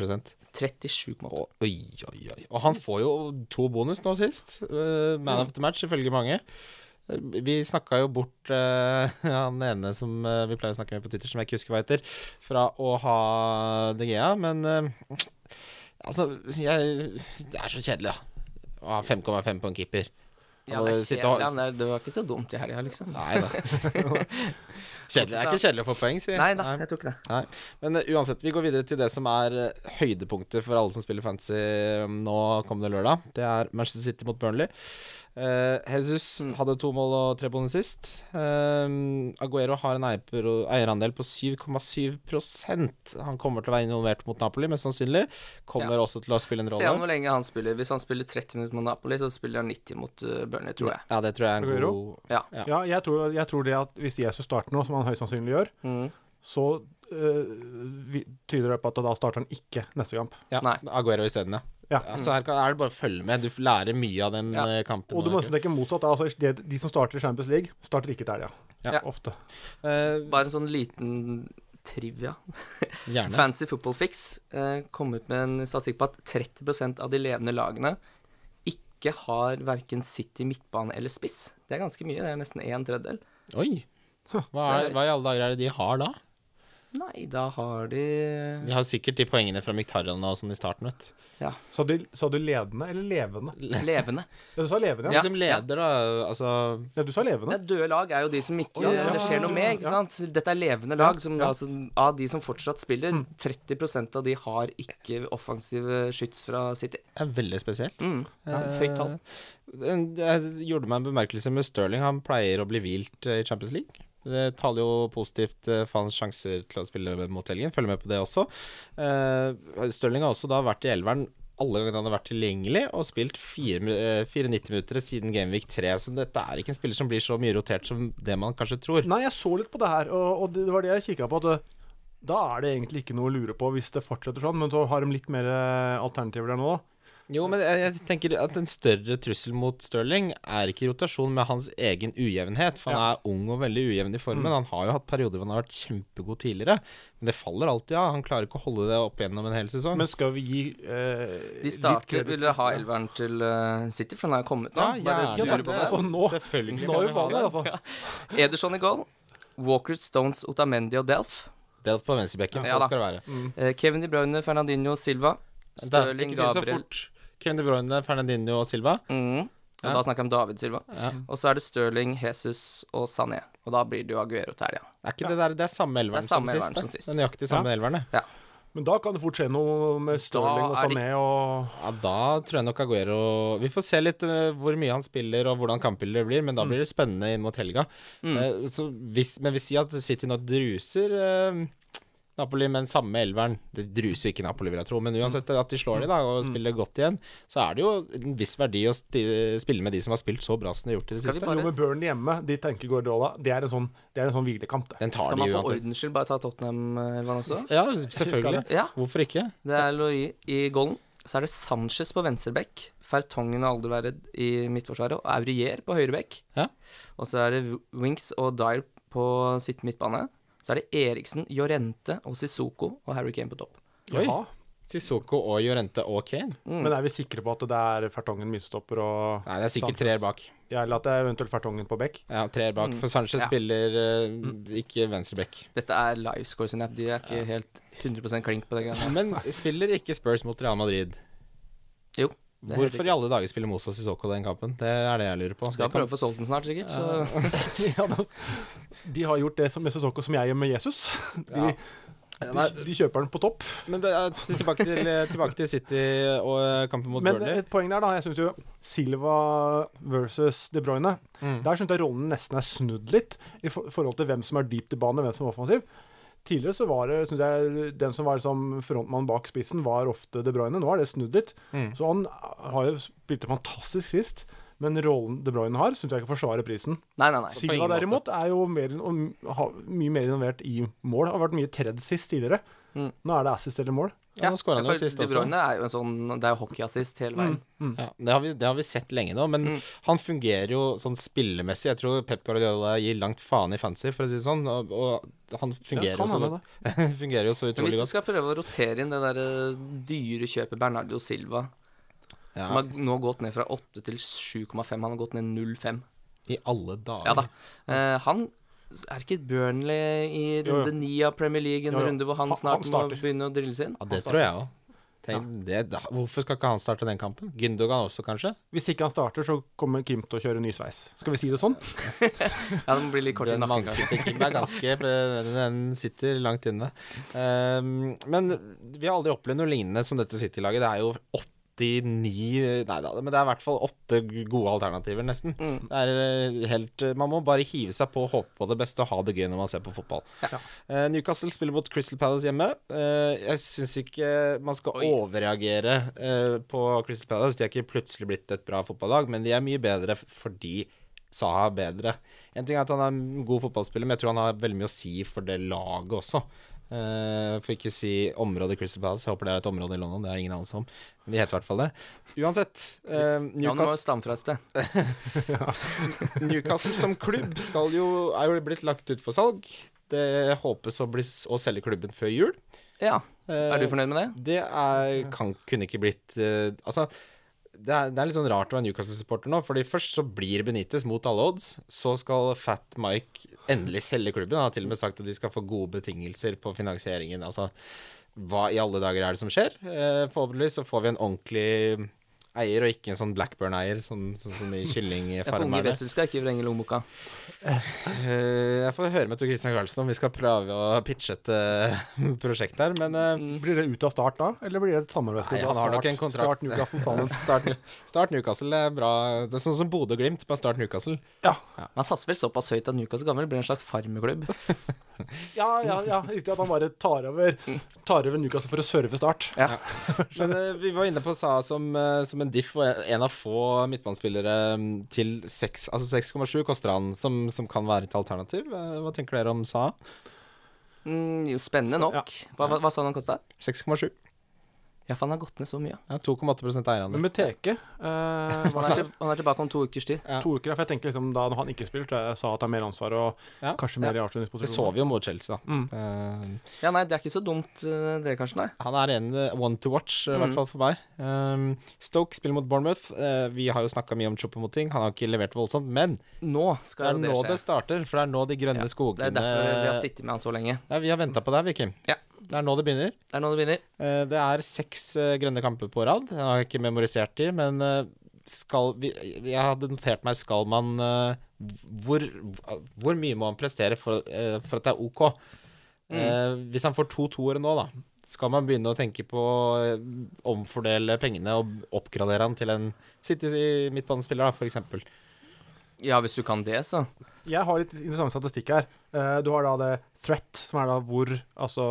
Speaker 3: 37,8.
Speaker 2: og, Oi, oi, oi. Og han får jo to bonus nå sist. Eh, man of the match, ifølge mange. Eh, Vi snakka jo bort eh, han ene som eh, vi pleier å snakke med på Twitter, som jeg ikke husker hva heter, fra å ha De Gea, men eh, Altså, jeg Det er så kjedelig, da. Å ha 5,5 på en keeper.
Speaker 3: Ja,
Speaker 2: Og
Speaker 3: det, er
Speaker 2: sitte
Speaker 3: kjedelig,
Speaker 2: og-
Speaker 3: ja, men det er- det var ikke så dumt i helga, liksom.
Speaker 2: Nei da. kjedelig. Det er ikke kjedelig å få poeng, sier
Speaker 3: Nei da, jeg tror ikke det.
Speaker 2: Nei. Men eh, uansett, vi går videre til det som er eh, høydepunktet for alle som spiller fantasy eh, nå kommende lørdag. Det er Manchester City mot Burnley. Eh, Jesus hadde to mål og tre bonus sist. Eh, Aguero har en eierpro- eierandel på 7,7 Han kommer til å være involvert mot Napoli, mest sannsynlig. Kommer også til å spille en
Speaker 3: Se an
Speaker 2: rolle.
Speaker 3: hvor lenge han spiller. Hvis han spiller 30 minutter mot Napoli, så spiller han 90 mot eh, Burnley, tror jeg.
Speaker 2: Ja, det tror jeg er en
Speaker 4: Aguero?
Speaker 2: god
Speaker 3: Ja.
Speaker 4: Ja, jeg tror, jeg tror det at hvis Jesus starter nå, som han høyst sannsynlig gjør,
Speaker 3: Mm.
Speaker 4: så øh, vi, tyder det på at da starter han ikke neste kamp.
Speaker 2: ja,
Speaker 3: Nei.
Speaker 2: Aguero isteden, ja.
Speaker 4: Ja.
Speaker 2: ja. Så her kan, er det bare å følge med. Du f- lærer mye av den
Speaker 3: Ja.
Speaker 2: eh, kampen.
Speaker 4: Og du må nesten tenke motsatt. da. Altså, de, de som starter i Champions League, starter ikke der, ja.
Speaker 2: Ja.
Speaker 4: Ofte.
Speaker 2: Eh,
Speaker 3: Bare en sånn liten trivia.
Speaker 2: Gjerne.
Speaker 3: Fancy Football Fix eh, kom ut med en statistikk på at 30 av de levende lagene ikke har verken City, midtbane eller spiss. Det er ganske mye, det er nesten en tredjedel.
Speaker 2: Oi. Hva, er, hva i alle dager er det de har da?
Speaker 3: Nei, da har de
Speaker 2: De har sikkert de poengene fra Myktarjan og sånn i starten, vet du.
Speaker 3: ja,
Speaker 4: Sa du, sa du ledende eller levende?
Speaker 3: levende.
Speaker 4: Ja, du sa levende, ja.
Speaker 2: De som leder, da, altså
Speaker 4: ja du sa
Speaker 3: Ja,
Speaker 4: levende.
Speaker 3: døde lag er jo de som ikke
Speaker 2: ja.
Speaker 3: Det skjer noe med, ikke
Speaker 4: Ja.
Speaker 3: sant. Dette er levende lag. Som, altså, av de som fortsatt spiller, 30 av de har ikke offensive skyts fra City.
Speaker 2: Det er veldig spesielt.
Speaker 3: Mm. Høyt tall.
Speaker 2: Den- Jeg gjorde meg en bemerkelse med Stirling. Han pleier å bli hvilt eh, i Champions League. Det taler jo positivt eh, for hans sjanser til å spille mot helgen. Følg med på det også. Eh, Stirling har også da vært i elveren alle gangene han har vært tilgjengelig, og spilt fire mi- eh, fire 90-minuttere siden Gameweek 3. Så dette er ikke en spiller som blir så mye rotert som det man kanskje tror.
Speaker 4: Nei, jeg så litt på det her, og, og det var det jeg kikka på. At eh, da er det egentlig ikke noe å lure på hvis det fortsetter sånn, men så har de litt mer eh, alternativer der nå.
Speaker 2: Jo, men jeg, jeg tenker at en større trussel mot Stirling er ikke rotasjon, men hans egen ujevnhet. For han er ung og veldig ujevn i
Speaker 3: Mm.
Speaker 2: formen. Han har jo hatt perioder hvor han har vært kjempegod tidligere, men det faller alltid av. Han klarer ikke å holde det opp gjennom en hel sesong.
Speaker 4: Men skal vi gi eh,
Speaker 3: De
Speaker 4: litt
Speaker 3: starter,
Speaker 4: kreditt-
Speaker 3: vil dere ha elveren til eh, City, for den har kommet nå. Bare
Speaker 4: gjerne.
Speaker 3: lurer på det.
Speaker 4: Altså, nå-
Speaker 2: Selvfølgelig.
Speaker 4: Nå
Speaker 2: kan
Speaker 4: er
Speaker 2: vi
Speaker 4: jo
Speaker 2: ha
Speaker 4: banen der,
Speaker 2: det.
Speaker 4: altså.
Speaker 3: Ederson i goal. Walker, Stones, Otamendi og Delf.
Speaker 2: Delt på venstrebekken,
Speaker 3: Ja
Speaker 2: så
Speaker 3: da.
Speaker 2: skal det være.
Speaker 3: Eh, Kevin De Bruyne, Fernandinho, Silva.
Speaker 2: Da,
Speaker 3: Stirling,
Speaker 2: ikke si det så
Speaker 3: Gabriel.
Speaker 2: fort. Kevin De Bruyne, Fernandinho og Silva.
Speaker 3: Mm. Og
Speaker 2: Ja.
Speaker 3: Da snakker jeg om David Silva.
Speaker 2: Ja.
Speaker 3: Og så er det Stirling, Jesus og Sané. Og da blir det jo Aguero til helga.
Speaker 2: Er ikke det, der, det er samme elveren
Speaker 3: Det er samme
Speaker 2: som,
Speaker 3: elveren
Speaker 2: sist,
Speaker 3: som
Speaker 2: da.
Speaker 3: sist.
Speaker 2: Det er nøyaktig samme elveren, det.
Speaker 4: Men da kan det fort skje noe med Stirling og
Speaker 3: er det-
Speaker 4: Sané og
Speaker 2: Ja, da tror jeg nok Aguero Vi får se litt eh, hvor mye han spiller og hvordan kampbildet blir, men da
Speaker 3: Mm.
Speaker 2: blir det spennende inn mot helga. Eh, så hvis, men vi sier at City nå druser eh, Napoli med den samme elveren. Det druser jo ikke Napoli, vil jeg tro, men uansett
Speaker 3: Mm.
Speaker 2: at de slår de da og spiller godt igjen, så er det jo en viss verdi å sti spille med de som har spilt så bra som de har gjort i det
Speaker 3: Skal vi
Speaker 2: siste.
Speaker 3: bare-
Speaker 4: Jo, med Burnley hjemme, de tenker Guardiola. Det er en sånn, det er en sånn hvilekamp, det.
Speaker 2: Den tar
Speaker 3: Skal
Speaker 2: de
Speaker 3: man for
Speaker 2: uansett.
Speaker 3: ordens skyld bare ta eh, Tottenham-elveren også?
Speaker 2: Ja, selvfølgelig.
Speaker 3: Ja,
Speaker 2: Hvorfor ikke?
Speaker 3: det er Loi i goalen. Så er det Sanchez på venstreback, Fertongen og Alderweireld i midtforsvaret, og Aurier på høyreback.
Speaker 2: Ja.
Speaker 3: Og så er det W- Winks og Dyer på sitt midtbane. Så er det Eriksen, Jorente og Sissoko og Harry Kane på topp.
Speaker 2: Oi.
Speaker 4: Jaha.
Speaker 2: Sissoko og Jorente og Kane?
Speaker 4: Men er vi sikre på at det er Fertongen midtstopper og
Speaker 2: Nei, det er sikkert
Speaker 4: Sanchez.
Speaker 2: treer bak.
Speaker 4: Ja, eller at det er eventuelt Fertongen på bekk?
Speaker 2: Ja, treer bak, for Sanchez
Speaker 3: Mm. Ja. Mm.
Speaker 2: spiller eh, ikke venstreback.
Speaker 3: Dette er livescore sin app, de er ikke helt 100 klink på det greiene.
Speaker 2: Men spiller ikke Spurs mot Real Madrid?
Speaker 3: Jo. det er helt
Speaker 2: Hvorfor
Speaker 3: riktig.
Speaker 2: i alle dager spiller Mosa Sissoko den kampen? Det er det jeg lurer på.
Speaker 3: Skal
Speaker 2: Det kan-
Speaker 3: prøve å få solgt den snart, sikkert. Så.
Speaker 4: Ja, da- de har gjort det som Jesus også, som jeg gjør med Jesus. De, de,
Speaker 2: Nei,
Speaker 4: de kjøper den på topp.
Speaker 2: men det er til- tilbake, til, tilbake til City og eh, kampen mot
Speaker 4: Men
Speaker 2: Burnley.
Speaker 4: et poeng der, da. Jeg syns jo Silva versus De Bruyne
Speaker 2: Mm.
Speaker 4: Der syns jeg rollen nesten er snudd litt, i for forhold til hvem som er dypt i banen, og hvem som er offensiv. Tidligere så var det, synes jeg, den som var liksom frontmann bak spissen, var ofte De Bruyne. Nå er det snudd litt.
Speaker 2: Mm.
Speaker 4: Så han har jo spilt fantastisk sist, men rollen De Bruyne har, syns jeg ikke forsvarer prisen.
Speaker 3: Nei, nei, nei.
Speaker 4: Silva
Speaker 2: ingen måte.
Speaker 4: derimot er jo mer, og m- ha, mye mer involvert i mål. Har vært mye tredd sist tidligere.
Speaker 3: Mm.
Speaker 4: Nå er det assist eller mål.
Speaker 2: Ja, nå skåra han
Speaker 3: for
Speaker 2: jo sist
Speaker 3: De
Speaker 2: også.
Speaker 3: Bruyne er jo en sånn Det er jo hockeyassist hele veien.
Speaker 2: Ja, det, har vi, det har vi sett lenge nå, men
Speaker 3: Mm.
Speaker 2: han fungerer jo sånn spillemessig. Jeg tror Pep Guardiola gir langt faen i fancy, for å si det sånn. Og, og han fungerer,
Speaker 4: kan
Speaker 2: jo
Speaker 4: hende
Speaker 2: så, fungerer jo så
Speaker 3: Men
Speaker 2: utrolig
Speaker 3: hvis du
Speaker 2: godt.
Speaker 3: skal prøve å rotere inn det der eh, dyre kjøpet Bernardo Silva, som
Speaker 2: Ja,
Speaker 3: har nå gått ned fra 8 til 7,5, han har gått ned 0,5
Speaker 2: I alle
Speaker 3: Ja da.
Speaker 2: dager.
Speaker 3: Eh, han er ikke Burnley i
Speaker 4: Jo, jo.
Speaker 3: runde 9 av Premier League, en
Speaker 4: Jo, jo.
Speaker 3: runde hvor han
Speaker 4: Han-
Speaker 3: snart
Speaker 4: han
Speaker 3: må
Speaker 4: starter.
Speaker 3: begynne å drilles inn?
Speaker 2: Ja, det tror jeg òg. Hvorfor skal ikke han starte den kampen? Gündogan også, kanskje?
Speaker 4: Hvis ikke han starter, så kommer Kim til å kjøre ny sveis. Skal vi si det sånn?
Speaker 3: Ja, det må bli litt kort i
Speaker 2: Den
Speaker 3: nakken. kanskje.
Speaker 2: vannkritikken er ganske Den sitter langt inne. Ehm, men vi har aldri opplevd noe lignende som dette City-laget. Det er jo 89 Nei da, men det er i hvert fall åtte gode alternativer, nesten.
Speaker 3: Mm.
Speaker 2: Det er eh, helt Man må bare hive seg på, håpe på det beste og ha det gøy når man ser på fotball. Eh, Newcastle spiller mot Crystal Palace hjemme. Eh, jeg syns ikke man skal overreagere eh, på Crystal Palace. De er ikke plutselig blitt et bra fotballag, men de er mye bedre f- fordi Saha er bedre. En ting er at han er en god fotballspiller, men jeg tror han har veldig mye å si for det laget også. Eh, for ikke å si området Crystal Palace. Jeg håper det er et område i London, det har jeg ingen anelse om. Men de heter i hvert fall det. Uansett,
Speaker 3: Ja,
Speaker 2: eh,
Speaker 3: han må jo
Speaker 2: Newcastle,
Speaker 3: stamme fra et sted.
Speaker 2: Newcastle som klubb skal jo, er jo blitt lagt ut for salg. Det håpes å, bli, s- å selge klubben før jul.
Speaker 3: Ja.
Speaker 2: Eh,
Speaker 3: Er du fornøyd med det?
Speaker 2: Det er, kan, kunne ikke blitt eh, Altså, det er, det er litt sånn rart å være Newcastle-supporter nå, fordi først så blir Benitez mot alle odds, så skal Fat Mike endelig selge klubben. Han har til og med sagt at de skal få gode betingelser på finansieringen. Altså, hva i alle dager er det som skjer? Eh, forhåpentligvis så får vi en ordentlig eier, og ikke en sånn Blackburn-eier, sånn, sånn som i
Speaker 3: Jeg får unge
Speaker 2: kyllingfarmerne.
Speaker 3: Wessel skal ikke vrenge lommeboka.
Speaker 2: Eh, jeg får høre med Tor Christian Karlsen om vi skal prøve å pitche et eh, prosjekt her, men eh,
Speaker 4: Blir det ut av start da, eller blir det et samarbeid?
Speaker 2: Nei,
Speaker 4: Da
Speaker 2: han har
Speaker 4: start-
Speaker 2: nok en kontrakt.
Speaker 4: Start Newcastle sammen.
Speaker 2: Start, start Newcastle det er bra. Det er sånn som Bodø og Glimt, bare start Newcastle.
Speaker 4: Ja,
Speaker 3: Man satser vel såpass høyt at Newcastle Gammel blir en slags farmeklubb.
Speaker 4: ja, ja, ja. Riktig at han bare tar over, tar over Newcastle for å serve Start.
Speaker 3: Ja.
Speaker 2: Men eh, vi var inne på Sa som, eh, som en diff, og en av få midtbanespillere mm, til seks- altså 6,7 koster han, som, som kan være et alternativ. Eh, Hva tenker dere om Sa?
Speaker 3: Mm, jo, spennende nok. Hva, hva, hva sa han han kosta?
Speaker 2: 6,7.
Speaker 3: Ja, for han har gått ned så mye.
Speaker 2: Ja, 2,8
Speaker 4: Men
Speaker 2: eierandel.
Speaker 4: med Teke eh, var
Speaker 3: Han er, til, han er tilbake om to ukers tid.
Speaker 2: Ja.
Speaker 4: to uker, for jeg tenker liksom da når han ikke spiller, tror jeg jeg sa at det er mer ansvar og
Speaker 2: Ja.
Speaker 4: kanskje mer i
Speaker 2: Det så
Speaker 4: avslutningsposisjon.
Speaker 2: vi jo mot Chelsea, da.
Speaker 4: Mm.
Speaker 2: Eh,
Speaker 3: Ja, nei, det er ikke så dumt eh, det, kanskje, nei.
Speaker 2: Han er en eh, one to watch,
Speaker 3: Mm.
Speaker 2: eh, i hvert fall for meg. Um, Stoke spiller mot Bournemouth. Eh, vi har jo snakka mye om Chopomoting. Han har ikke levert voldsomt, men
Speaker 3: Nå
Speaker 2: det
Speaker 3: skal
Speaker 2: er
Speaker 3: jo det
Speaker 2: nå det
Speaker 3: skje.
Speaker 2: starter, for det er nå de grønne
Speaker 3: Ja, Det
Speaker 2: skogene
Speaker 3: er derfor vi har sittet med han så lenge.
Speaker 2: Ja, vi har venta på deg, vi, Kim.
Speaker 3: Ja.
Speaker 2: Det er nå det begynner.
Speaker 3: Det er nå det begynner.
Speaker 2: Eh, Det er seks eh, grønne kamper på rad. Jeg har ikke memorisert de, men eh, skal vi, Jeg hadde notert meg Skal man eh, hvor, hvor mye må han prestere for, eh, for at det er OK? Eh, Hvis han får to toere nå, da, skal man begynne å tenke på å omfordele pengene og oppgradere han til en City midtbanespiller, da, for eksempel.
Speaker 3: Ja, hvis du kan det, så.
Speaker 4: Jeg har litt interessant statistikk her. Eh, du har da det threat, som er da hvor altså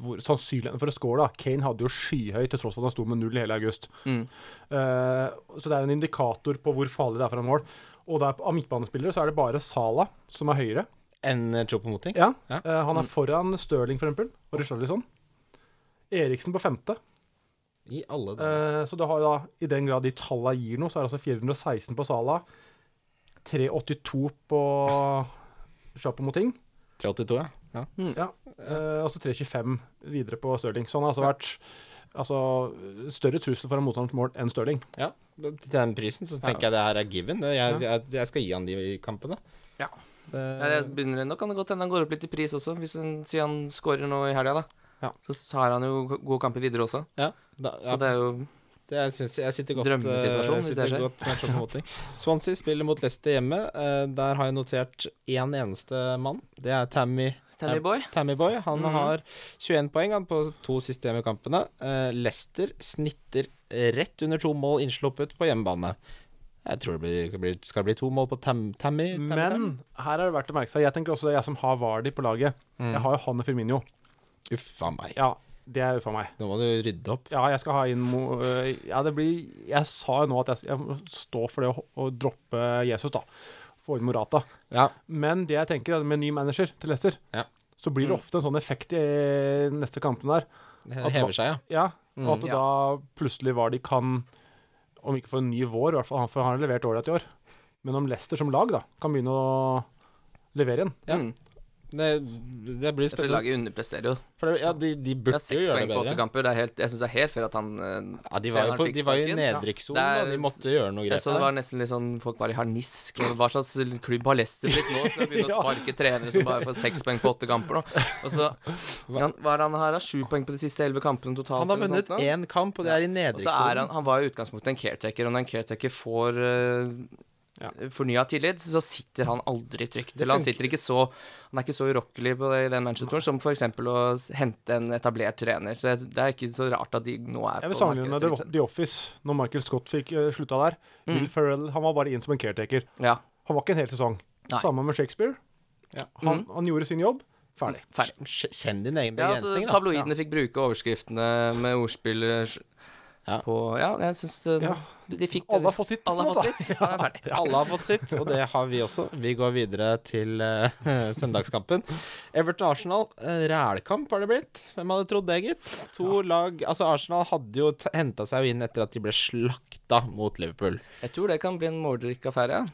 Speaker 4: hvor sannsynligheten for å score, da. Kane hadde jo skyhøy til tross for at han sto med null i hele august.
Speaker 3: Mm.
Speaker 4: Eh, så det er en indikator på hvor farlig det er for en mål. Og der, av midtbanespillere så er det bare Sala som er høyere.
Speaker 2: Enn Chopomoting.
Speaker 4: Ja,
Speaker 2: Ja.
Speaker 4: eh, Han er foran Stirling, for eksempel, og Richarlison. Eriksen på femte.
Speaker 2: I alle dager.
Speaker 4: Eh, så du har da, i den grad de tallene gir noe, så er det altså 416 på Sala, 382 på Chapomoting,
Speaker 2: 382, ja. ja.
Speaker 4: ja, eh, altså 325 videre på Stirling. Så han har altså vært altså, større trussel for en motstanders mål enn Stirling.
Speaker 2: Ja, men til den prisen så tenker jeg det her er given. Jeg, jeg, jeg skal gi han de kampene.
Speaker 3: Ja.
Speaker 2: Det,
Speaker 3: Ja, det begynner, nå kan det godt hende han går opp litt i pris også, hvis han sier han scorer nå i helga, da.
Speaker 4: Ja.
Speaker 3: Så har han jo go- gode kamper videre også.
Speaker 2: ja, da,
Speaker 3: Så
Speaker 2: ja,
Speaker 3: det er jo
Speaker 2: det- jeg, synes, jeg sitter godt
Speaker 3: Drømmesituasjon,
Speaker 2: eh,
Speaker 3: hvis det
Speaker 2: sitter
Speaker 3: skjer.
Speaker 2: godt match opp mot ting. Swansea spiller mot Leicester hjemme. Eh, der har jeg notert én eneste mann. Det er Tammy,
Speaker 3: Tammy Boy.
Speaker 2: Tammy Boy. Han
Speaker 3: Mhm.
Speaker 2: har 21 poeng han, på to siste hjemmekampene. Eh, Leicester snitter rett under to mål innsluppet på hjemmebane. Jeg tror det blir, det blir, skal bli to mål på Tam, Tammy. Tammy, Tammy.
Speaker 4: Men her er det verdt å merke seg. Jeg tenker også det, jeg som har Vardy på laget. Jeg har jo han og Firmino.
Speaker 2: Uffa meg.
Speaker 4: Ja, det er jo for meg.
Speaker 2: Nå må du rydde opp.
Speaker 4: Ja, jeg skal ha inn Mo... øh, Ja, det blir Jeg sa jo nå at jeg, jeg må stå for det å, å droppe Jesus, da. Få inn Morata.
Speaker 2: Ja,
Speaker 4: Men det jeg tenker, er at med ny manager til Leicester,
Speaker 2: Ja.
Speaker 4: så blir det
Speaker 3: Mm.
Speaker 4: ofte en sånn effekt i neste kampen der.
Speaker 2: det hever seg, ja.
Speaker 4: Ja, og at
Speaker 3: Mm.
Speaker 4: da plutselig var de kan Om ikke for en ny vår, i hvert fall, for han har levert året etter år. Men om Leicester som lag da, kan begynne å levere igjen.
Speaker 2: Ja.
Speaker 3: Mm.
Speaker 2: Det, det blir
Speaker 3: Derfor
Speaker 2: spennende.
Speaker 3: laget underpresterer jo.
Speaker 2: For det, ja, de, de
Speaker 3: Det
Speaker 2: burde
Speaker 3: er
Speaker 2: jo
Speaker 3: seks
Speaker 2: gjøre
Speaker 3: poeng
Speaker 2: det
Speaker 3: på åtte
Speaker 2: bedre.
Speaker 3: kamper. Det er helt, jeg syns det er helt fair at han eh,
Speaker 2: Ja, de var jo,
Speaker 3: treneren
Speaker 2: på,
Speaker 3: fikk
Speaker 2: de var jo i
Speaker 3: sparken.
Speaker 2: nedrykkssonen,
Speaker 3: Ja.
Speaker 2: og de måtte gjøre noe
Speaker 3: Jeg
Speaker 2: grep.
Speaker 3: så det
Speaker 2: der.
Speaker 3: var nesten litt sånn Folk var i harnisk. Og hva slags klubb har Leicester blitt nå? Skal de begynne å
Speaker 4: Ja.
Speaker 3: sparke trenere som bare får seks poeng på åtte kamper nå? Og så ja, Hva er det han her? da? Sju poeng på de siste elleve kampene totalt?
Speaker 2: Han har
Speaker 3: eller noe
Speaker 2: vunnet
Speaker 3: sånt nå?
Speaker 2: én kamp, og det er i
Speaker 3: Og så er han
Speaker 2: nedrykkssonen.
Speaker 3: Han var i utgangspunktet en caretaker. Og når en caretaker får uh,
Speaker 4: Ja.
Speaker 3: fornya tillit, så sitter han aldri trygt.
Speaker 2: Det
Speaker 3: Eller han
Speaker 2: funker.
Speaker 3: sitter ikke så Han er ikke så urokkelig på det, i den Manchester som f.eks. å s- hente en etablert trener. Så det, det er ikke så rart at de nå er
Speaker 4: Jeg vil
Speaker 3: på
Speaker 4: sammenligne
Speaker 3: markedet. liksom.
Speaker 4: med The Office, når Michael Scott fikk eh, slutta der.
Speaker 3: Mm.
Speaker 4: Will Ferrell han var bare inn som en caretaker.
Speaker 3: Ja.
Speaker 4: Han var ikke en hel sesong.
Speaker 3: Nei. Mm.
Speaker 4: Samme med Shakespeare.
Speaker 2: Ja.
Speaker 4: Han, han gjorde sin jobb. Ferdig.
Speaker 3: Ferdig.
Speaker 2: Kj- Kjenn din egen
Speaker 3: Ja, altså,
Speaker 2: begrensning, da.
Speaker 3: tabloidene fikk bruke overskriftene med ordspill
Speaker 2: Ja.
Speaker 3: på Ja, jeg syns det
Speaker 4: Ja.
Speaker 3: De fikk det.
Speaker 4: Alle har fått sitt.
Speaker 3: Alle har
Speaker 4: på en måte.
Speaker 3: fått sitt. Da er jeg ferdig.
Speaker 2: Alle har fått sitt, og det har vi også. Vi går videre til eh, søndagskampen. Everton Arsenal, uh, rælkamp har det blitt. Hvem hadde trodd det, gitt? To lag Altså, Arsenal hadde jo henta seg jo inn etter at de ble slakta mot Liverpool.
Speaker 3: Jeg tror det kan bli en målrik affære.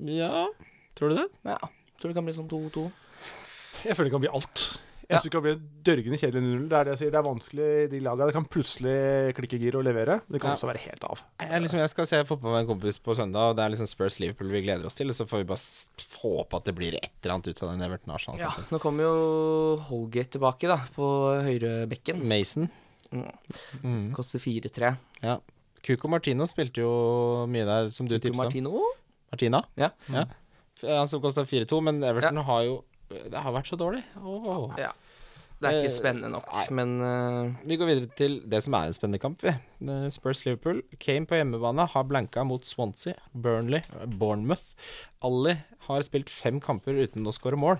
Speaker 2: Ja, tror du det?
Speaker 3: Ja. Jeg tror det kan bli sånn 2-2.
Speaker 4: Jeg føler det kan bli alt. Jeg
Speaker 3: Ja.
Speaker 4: synes det kan bli en dørgende kjedelig 0 Det er det jeg sier, det er vanskelig i de lagene. Det kan plutselig klikke gir og levere. Det kan
Speaker 2: Ja.
Speaker 4: også være helt av.
Speaker 2: Jeg, liksom, jeg skal se fotball med en kompis på søndag, og det er liksom Spurs Liverpool vi gleder oss til. Så får vi bare s- håpe at det blir et eller annet ut av den Everton Arsenal.
Speaker 3: Ja, nå kommer jo Holgate tilbake, da, på høyrebekken.
Speaker 2: Mason. Mm.
Speaker 3: Koster 4-3.
Speaker 2: Ja. Cuco Martino spilte jo mye der, som du
Speaker 3: Cuco
Speaker 2: tipsa om.
Speaker 3: Martino?
Speaker 2: Martina?
Speaker 3: Ja.
Speaker 2: Ja. F- Han som kosta 4-2, men Everton har jo Det har vært så dårlig. Åh.
Speaker 3: ja. Det er
Speaker 2: Eh,
Speaker 3: ikke spennende nok,
Speaker 2: nei.
Speaker 3: men eh,
Speaker 2: Vi går videre til det som er en spennende kamp, vi. Eh, Spurs Liverpool. Kane på hjemmebane har blanka mot Swansea, Burnley, eh, Bournemouth. Alle har spilt fem kamper uten å skåre mål.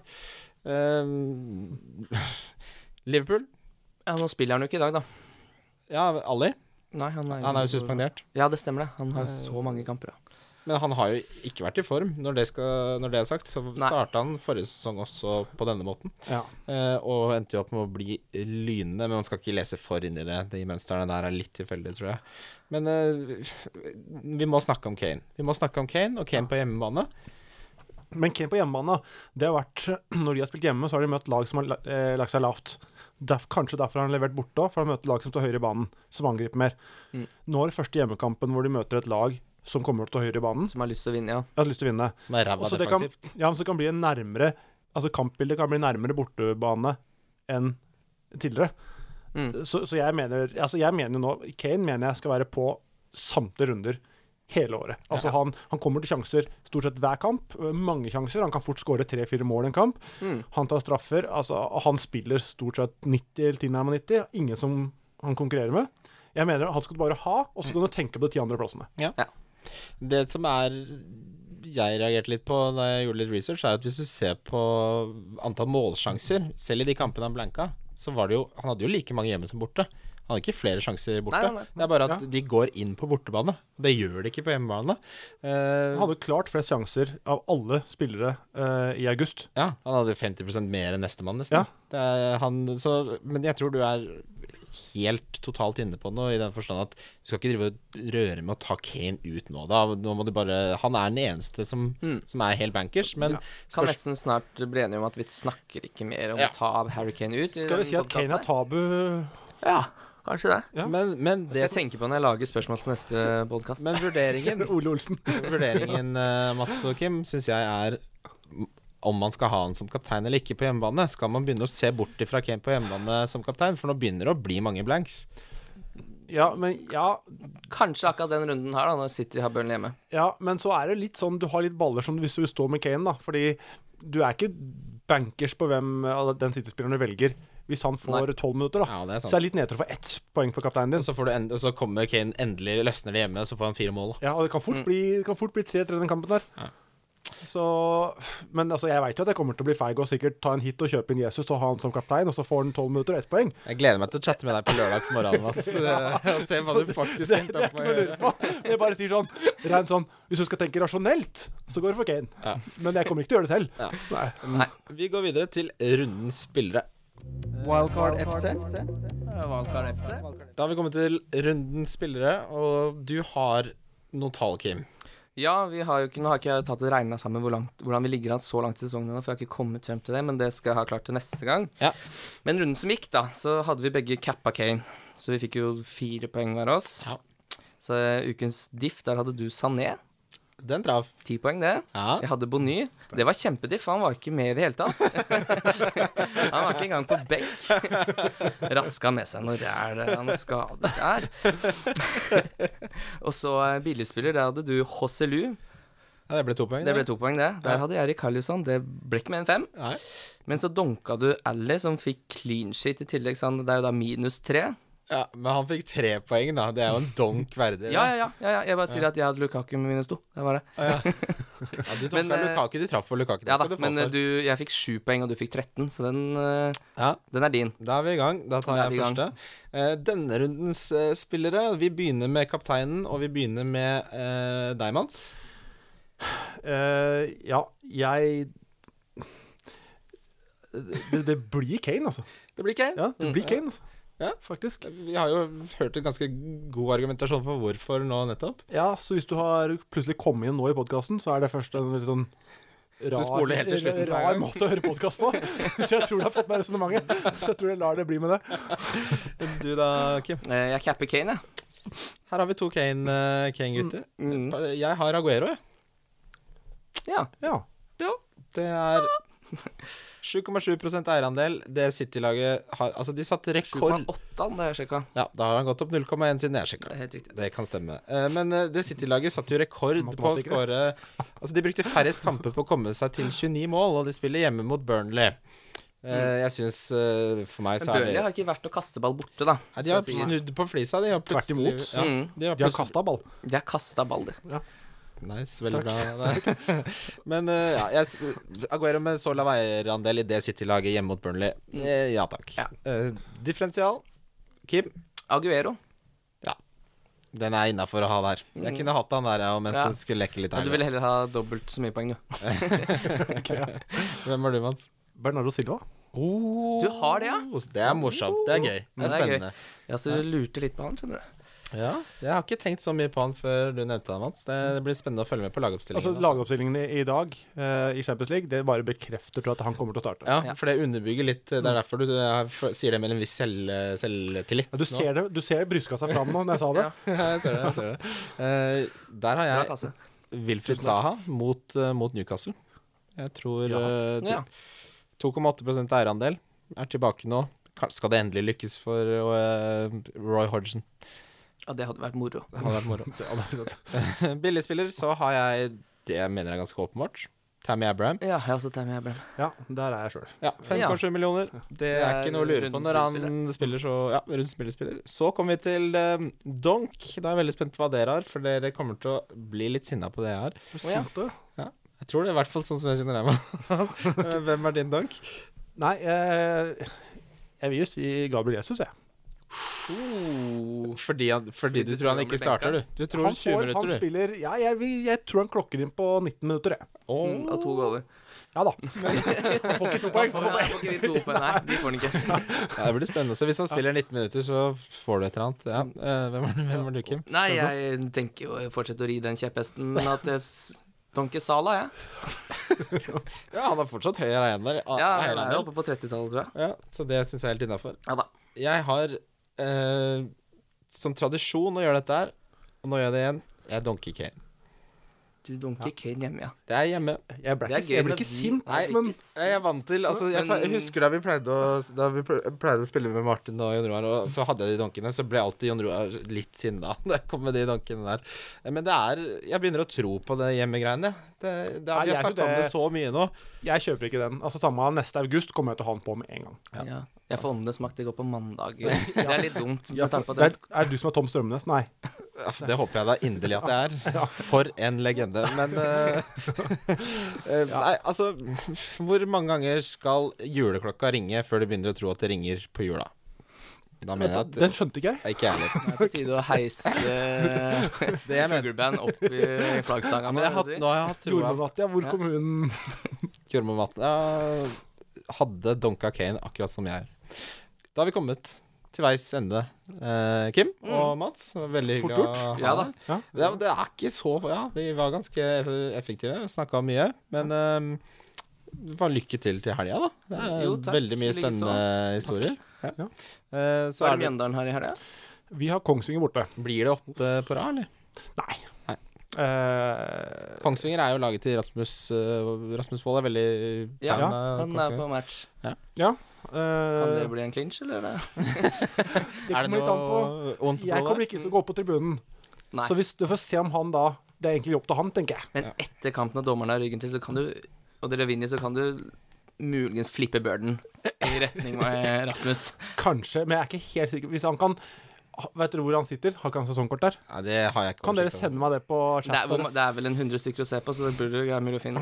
Speaker 2: Eh, Liverpool
Speaker 3: ja, nå spiller han jo ikke i dag, da.
Speaker 2: Ja, Ali.
Speaker 3: Nei, han er,
Speaker 2: Han er jo suspendert.
Speaker 3: Ja, det stemmer det. Han har så mange kamper. Ja.
Speaker 2: Men han har jo ikke vært i form, når det, skal, når det er sagt. Så starta han forrige sesong også på denne måten,
Speaker 4: Ja.
Speaker 2: eh, og endte jo opp med å bli lynende. Men man skal ikke lese for inn i det. De mønstrene der er litt tilfeldige, tror jeg. Men eh, vi må snakke om Kane. Vi må snakke om Kane, og Kane på hjemmebane.
Speaker 4: Men Kane på hjemmebane, det har vært Når de har spilt hjemme, så har de møtt lag som har la- eh, lagt seg lavt. Derf, kanskje derfor har han levert borte òg, for han møter lag som står høyere i banen, som angriper mer.
Speaker 3: Mm.
Speaker 4: Nå er det første hjemmekampen hvor de møter et lag som kommer til å høyere i banen.
Speaker 3: Som har lyst til å vinne, ja.
Speaker 4: Jeg har lyst til å vinne.
Speaker 2: Som er ræva
Speaker 4: Også det kan-
Speaker 2: defensivt.
Speaker 4: Ja, men så kan det bli en nærmere Altså kampbildet kan bli nærmere bortebane enn tidligere.
Speaker 3: Mm.
Speaker 4: Så, så jeg mener Altså jeg mener jo nå Kane mener jeg skal være på samtlige runder hele året. Altså han, han kommer til sjanser stort sett hver kamp. øh, Mange sjanser. Han kan fort skåre tre-fire mål i en kamp.
Speaker 3: Mm.
Speaker 4: Han tar straffer. Altså han spiller stort sett 90 eller tilnærmet 90. Ingen som han konkurrerer med. Jeg mener han skal du bare ha, og så kan du tenke på de ti andre plassene.
Speaker 2: Det som er jeg reagerte litt på da jeg gjorde litt research, er at hvis du ser på antall målsjanser, selv i de kampene han blanka, så var det jo Han hadde jo like mange hjemme som borte. Han hadde ikke flere sjanser borte.
Speaker 3: Nei, nei, nei.
Speaker 2: Det er bare at
Speaker 4: Ja.
Speaker 2: de går inn på bortebane. Og Det gjør de ikke på hjemmebane. Eh,
Speaker 4: Han hadde klart flest sjanser av alle spillere øh, i august.
Speaker 2: ja, han hadde 50 mer enn nestemann, nesten.
Speaker 4: Ja.
Speaker 2: Det er, han, så, men jeg tror du er helt totalt inne på noe, i den forstand at du skal ikke drive og røre med å ta Kane ut nå, da. Nå må du bare Han er den eneste som,
Speaker 3: Mm.
Speaker 2: som er helt bankers, men
Speaker 3: Kan
Speaker 2: spørs-
Speaker 3: nesten snart bli enige om at vi snakker ikke mer om
Speaker 2: Ja.
Speaker 3: å ta av Harry Kane ut. i
Speaker 4: Skal vi
Speaker 3: denne
Speaker 4: si at Kane er
Speaker 3: podcasten
Speaker 4: tabu
Speaker 3: her? Ja, kanskje det.
Speaker 4: Ja.
Speaker 2: Men, men,
Speaker 3: Det
Speaker 2: det
Speaker 3: skal jeg
Speaker 2: som,
Speaker 3: tenke på når jeg lager spørsmål til neste podkast.
Speaker 2: men vurderingen,
Speaker 4: Ole Olsen?
Speaker 2: vurderingen eh, Mats og Kim, syns jeg er m- om man skal ha han som kaptein eller ikke på hjemmebane. Skal man begynne å se bort ifra Kane på hjemmebane som kaptein? For nå begynner det å bli mange blanks.
Speaker 4: Ja, men ja,
Speaker 3: Kanskje akkurat den runden her, da, når City har Burnley hjemme.
Speaker 4: ja, men så er det litt sånn Du har litt baller som hvis du står med Kane, da. Fordi du er ikke bankers på hvem av den City-spilleren du velger, hvis han får tolv minutter, da.
Speaker 2: Ja, det er
Speaker 4: Så er
Speaker 2: sant.
Speaker 4: det litt nedtur å få ett poeng på kapteinen
Speaker 2: Og
Speaker 4: din.
Speaker 2: så, får du end og så kommer Kane endelig, løsner det hjemme, så får han fire mål.
Speaker 4: Ja, og det kan fort bli, det kan fort bli 3-3 den kampen
Speaker 2: Mm.
Speaker 4: der.
Speaker 2: Ja.
Speaker 4: Så Men altså, jeg veit jo at jeg kommer til å bli feig og sikkert ta en hit og kjøpe inn Jesus og ha han som kaptein, og så får han tolv minutter og ett poeng.
Speaker 2: Jeg gleder meg til å chatte med deg på lørdagsmorgenen, Mats. eh, Og se hva du faktisk
Speaker 4: Det, det
Speaker 2: endte
Speaker 4: er
Speaker 2: opp
Speaker 4: ikke noe å
Speaker 2: med.
Speaker 4: lure på. Jeg bare sier sånn, rent sånn Hvis du skal tenke rasjonelt, så går det for Kane.
Speaker 2: Ja.
Speaker 4: Men jeg kommer ikke til å gjøre det selv.
Speaker 2: Ja.
Speaker 4: Nei.
Speaker 3: Nei.
Speaker 2: Vi går videre til rundens spillere.
Speaker 1: Wildcard FC.
Speaker 3: Valgkar FC.
Speaker 2: Da har vi kommet til rundens spillere, og du har noen tall, Kim.
Speaker 3: Ja, vi har jo ikke, nå har ikke jeg tatt og regna sammen hvor langt, hvordan vi ligger an så langt i sesongen ennå, for jeg har ikke kommet frem til det, men det skal jeg ha klart til neste gang.
Speaker 2: Ja.
Speaker 3: Men runden som gikk, da, så hadde vi begge cappa Kane, så vi fikk jo fire poeng hver av oss.
Speaker 2: Ja.
Speaker 3: Så eh, ukens diff, der hadde du Sané.
Speaker 2: Den traff.
Speaker 3: Ti poeng, det.
Speaker 2: Ja.
Speaker 3: Jeg hadde Bony. Det var kjempediff. Han var ikke med i det hele tatt. han var ikke engang på benk. Raska med seg noe ræl. Han er skadet der. og så eh, billigspiller. Der hadde du Hosselu.
Speaker 2: Ja, det ble to poeng.
Speaker 3: Det ble to poeng, det. Der hadde jeg Erik Carlisson. Det ble ikke mer enn fem.
Speaker 2: Nei.
Speaker 3: Men så dunka du Ally, som fikk clean shit i tillegg. Så han, det er jo da minus tre.
Speaker 2: Ja, men han fikk tre poeng, da. Det er jo en donk verdig.
Speaker 3: Ja, ja, ja. ja, ja. Jeg bare sier at jeg hadde Lukaku med minus to. Det var det.
Speaker 2: ja. du
Speaker 3: Men,
Speaker 2: traff
Speaker 3: eh,
Speaker 2: Lukaku, du traff på Lukaku. Det
Speaker 3: Ja da.
Speaker 2: skal du få
Speaker 3: Men eh,
Speaker 2: for.
Speaker 3: du, jeg fikk sju poeng, og du fikk 13, så den, eh,
Speaker 2: Ja,
Speaker 3: den er din.
Speaker 2: da er vi i gang. Da tar
Speaker 3: Da er vi
Speaker 2: jeg
Speaker 3: i gang.
Speaker 2: første. Eh, denne rundens eh, spillere Vi begynner med kapteinen, og vi begynner med uh, deg, Mats.
Speaker 4: Eh, ja, jeg det, det blir Kane, altså.
Speaker 2: Det blir Kane.
Speaker 4: Ja, det blir Kane, altså.
Speaker 2: Ja.
Speaker 4: Faktisk.
Speaker 2: Vi har jo hørt en ganske god argumentasjon for hvorfor nå nettopp.
Speaker 4: Ja, så hvis du har plutselig kommet inn nå i podkasten, så er det først en litt sånn rar,
Speaker 2: Så spoler du helt til slutten hver
Speaker 4: rar
Speaker 2: gang.
Speaker 4: måte å høre podkast på. Så jeg tror du har fått med resonnementet. Så jeg tror jeg lar det bli med det.
Speaker 2: Du da, Kim?
Speaker 3: Eh, Jeg capper Kane, jeg.
Speaker 2: Her har vi to Kane, eh, Kane-gutter. Jeg har Aguero, jeg.
Speaker 3: Mm. Ja.
Speaker 4: Ja.
Speaker 2: Ja. Det er 7,7 eierandel. Det City-laget har Altså, de satte rekord
Speaker 3: 7,8 da jeg sjekka.
Speaker 2: Ja, da har han gått opp 0,1 siden jeg
Speaker 3: Det
Speaker 2: sjekka.
Speaker 3: er helt riktig.
Speaker 2: Det kan stemme. Eh, Men eh, det City-laget satte jo rekord på å skåre Altså, de brukte færrest kamper på å komme seg til 29 mål, og de spiller hjemme mot Burnley. Eh, Jeg syns eh, For meg
Speaker 3: Mm. Men
Speaker 2: så er det
Speaker 3: Burnley har ikke vært å kaste ball borte, da.
Speaker 2: Nei, De har snudd på flisa, de. Har
Speaker 4: Tvert
Speaker 2: plutselig-
Speaker 4: imot.
Speaker 2: Ja,
Speaker 3: Mm.
Speaker 2: de har
Speaker 4: De har
Speaker 2: plutselig-
Speaker 4: kasta ball.
Speaker 3: De har kasta ball, de.
Speaker 2: Nice, veldig bra. der. Men eh, ja, jeg, s- Aguero med så lav eierandel i det City-laget hjemme mot Burnley. Eh, ja takk.
Speaker 3: Mm. Ja.
Speaker 2: Eh, differensial, Kim,
Speaker 3: Aguero.
Speaker 2: den er innafor å ha der. Jeg kunne hatt han der ja,
Speaker 3: Mm.
Speaker 2: mens
Speaker 3: Ja.
Speaker 2: den skulle leke litt
Speaker 3: Men
Speaker 2: her.
Speaker 3: du ville heller ha dobbelt så mye poeng, du.
Speaker 2: Hvem er du, Mans?
Speaker 4: Bernardo Silva.
Speaker 3: Du har det, ja?
Speaker 2: Det er morsomt. Det er gøy. Men
Speaker 3: Ja, det er gøy.
Speaker 2: spennende.
Speaker 3: Ja, så du lurte litt på han, skjønner du.
Speaker 2: Ja, jeg har ikke tenkt så mye på han før du nevnte han, Mats. Det blir spennende å følge med på
Speaker 4: Altså
Speaker 2: lagoppstillingen. altså.
Speaker 4: Lagoppstillingen i, i dag eh, i Champions League, det bare bekrefter tror jeg, at han kommer til å starte.
Speaker 2: altså. Ja, for det underbygger litt Det
Speaker 3: Mm.
Speaker 2: er derfor du eh, f- sier det med en viss selv, eh, selvtillit.
Speaker 4: Ja, Du ser det, du ser det bryska seg fram nå når jeg sa det.
Speaker 2: jeg ser det. jeg ser det Eh, Der har
Speaker 3: Bra
Speaker 2: jeg
Speaker 3: kasse.
Speaker 2: Wilfried Saha mot, eh, mot Newcastle. Jeg tror eh, to-
Speaker 3: Ja.
Speaker 2: 2,8 eierandel er tilbake nå. Ka- Skal det endelig lykkes for eh, Roy Hodgson?
Speaker 3: ja, det hadde vært moro.
Speaker 2: Det hadde vært moro. Billigspiller, så har jeg det jeg mener er ganske åpenbart. Tammy Abraham.
Speaker 3: Ja, jeg også tar med Abraham.
Speaker 4: Ja, der er jeg sjøl.
Speaker 2: Ja, 5,7 millioner. Det er ikke noe å lure på når han spiller så Ja, rundspillerspiller. Så kommer vi til eh, Donk. Da er jeg veldig spent på hva dere har, for dere kommer til å bli litt sinna på det jeg har.
Speaker 3: ja.
Speaker 2: Jeg tror det, i hvert fall sånn som jeg kjenner deg med. Hvem er din donk?
Speaker 4: Nei, eh, jeg vil jo si Gabriel Jesus, jeg.
Speaker 3: Mm,
Speaker 2: Fordi, han, fordi du
Speaker 3: du
Speaker 2: tror han ikke
Speaker 3: blir
Speaker 2: starter, Oh. du. Du tror
Speaker 4: Han,
Speaker 2: 20
Speaker 4: får, han
Speaker 2: minutter, du.
Speaker 4: spiller Ja, jeg, vil- jeg tror han klokker inn på 19 minutter, jeg.
Speaker 2: Åh.
Speaker 3: Mm, og to goaler.
Speaker 4: Ja da. Men han får ikke to
Speaker 3: Nei,
Speaker 4: poeng.
Speaker 3: får ikke de to poeng. Nei, de får den ikke.
Speaker 2: Ja, Det blir spennende. Så hvis han spiller 19 minutter, så får du et eller annet. Ja. eh, Hvem, er, hvem er du, Kim?
Speaker 3: Nei, jeg tenker jo å fortsette å ri den kjepphesten, men at jeg s- Donke Sala, jeg.
Speaker 2: Ja, han har fortsatt høy eiendel.
Speaker 3: Ja. Ja, jeg er
Speaker 2: Ja,
Speaker 3: oppe på 30-tallet, tror jeg.
Speaker 2: ja, så det syns jeg er helt innafor.
Speaker 3: Ja da.
Speaker 2: Jeg har eh, som tradisjon å gjøre dette her, og nå gjør jeg det igjen. Jeg donker Kane.
Speaker 3: Du dunker Kane hjemme, ja.
Speaker 2: Det er hjemme.
Speaker 4: Jeg ble
Speaker 3: Det er
Speaker 4: ikke,
Speaker 3: gøy
Speaker 4: jeg ble
Speaker 3: med
Speaker 4: ikke
Speaker 3: de-
Speaker 4: sint,
Speaker 3: Nei,
Speaker 4: men
Speaker 3: ikke
Speaker 2: Jeg er vant til altså, jeg,
Speaker 3: Men-
Speaker 2: pleier, jeg husker da vi pleide å, da vi pleide å spille med Martin og Jon Roar, og så hadde jeg de donkene, så ble alltid Jon Roar litt sinna når jeg kom med de donkene der. Men det er Jeg begynner å tro på det hjemmegreiene. Det, det er,
Speaker 4: Nei,
Speaker 2: vi har
Speaker 4: jeg tror
Speaker 2: snakka om
Speaker 4: det-
Speaker 2: det så mye nå.
Speaker 4: jeg kjøper ikke den. Altså Samme neste august kommer jeg til å ha den på med en gang.
Speaker 3: Ja. Jeg får åndenes makt, det går på mandag. Det er litt dumt. Med tanke på
Speaker 4: Det
Speaker 3: at
Speaker 4: er, er det du som er Tom Strømnes? Nei.
Speaker 2: Ja, Det håper jeg da inderlig at det er. For en legende. Men eh, eh, Nei, altså Hvor mange ganger skal juleklokka ringe før du begynner å tro at det ringer på jula? Da mener jeg at
Speaker 4: Den skjønte ikke jeg.
Speaker 2: Nei, Ikke jeg heller.
Speaker 3: det er på tide å heise
Speaker 2: Det jeg mener.
Speaker 3: fugleband opp i flaggstanga.
Speaker 2: Men jeg har, hatt- nå har jeg hatt troa
Speaker 4: Jordmornatt, ja. Hvor
Speaker 3: Ja.
Speaker 4: kom hun
Speaker 2: Jormungvatn ja, hadde donka Kane akkurat som jeg. Da har vi kommet til veis ende, eh, Kim og Mats. Veldig
Speaker 4: Mm. Fort
Speaker 2: hyggelig å
Speaker 4: gjort.
Speaker 2: ha
Speaker 3: Ja da.
Speaker 2: deg.
Speaker 4: Ja.
Speaker 2: Det, det er ikke så Ja, vi var ganske effektive. Snakka mye. Men eh, bare lykke til til helga, da. Det er
Speaker 3: Jo, takk.
Speaker 2: veldig mye
Speaker 3: Likeså.
Speaker 2: spennende historier. Ja.
Speaker 4: Ja.
Speaker 2: Eh, så
Speaker 3: Så er
Speaker 2: er
Speaker 3: det
Speaker 2: det,
Speaker 3: Mjøndalen her i helga.
Speaker 4: Vi har Kongsvinger borte.
Speaker 2: blir det åtte på rad, eller?
Speaker 4: Nei.
Speaker 2: Nei.
Speaker 4: Eh,
Speaker 2: Kongsvinger er jo laget til Rasmus eh, Rasmus Wold er veldig
Speaker 3: Ja,
Speaker 2: fan av
Speaker 3: Han er
Speaker 2: Kongsvinger.
Speaker 3: på match.
Speaker 4: ja.
Speaker 3: Kan
Speaker 4: eh,
Speaker 3: det bli en clinch, eller? er det-
Speaker 4: det
Speaker 2: Er det
Speaker 4: kommer litt an på.
Speaker 2: noe vondt
Speaker 4: Jeg
Speaker 2: blod
Speaker 4: kommer
Speaker 2: der?
Speaker 4: ikke til å gå på tribunen.
Speaker 3: Nei.
Speaker 4: Så hvis du får se om han da Det er egentlig jobb til han, tenker jeg.
Speaker 3: Men etter kampen og dommeren har ryggen til, så kan du Og dere vinner, så kan du muligens flippe burden i retning med Rasmus.
Speaker 4: Kanskje, men jeg er ikke helt sikker. Hvis han kan ha- Vet dere hvor han sitter? Har ikke han sesongkort der?
Speaker 2: Nei, det har jeg ikke
Speaker 4: Kan dere
Speaker 2: oversikt over.
Speaker 4: sende meg det på
Speaker 3: Det er,
Speaker 4: chat?
Speaker 3: hvor, ma- det er vel en 100 stykker å se på, så det burde være mulig å finne.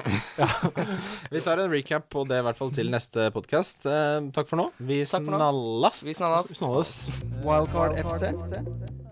Speaker 2: Vi tar en recap på det i hvert fall til neste podkast. Eh, takk for nå. Vi
Speaker 3: Takk for nå.
Speaker 2: snallas.
Speaker 3: Vi snalles.
Speaker 4: Snarest.
Speaker 1: Wildcard FC?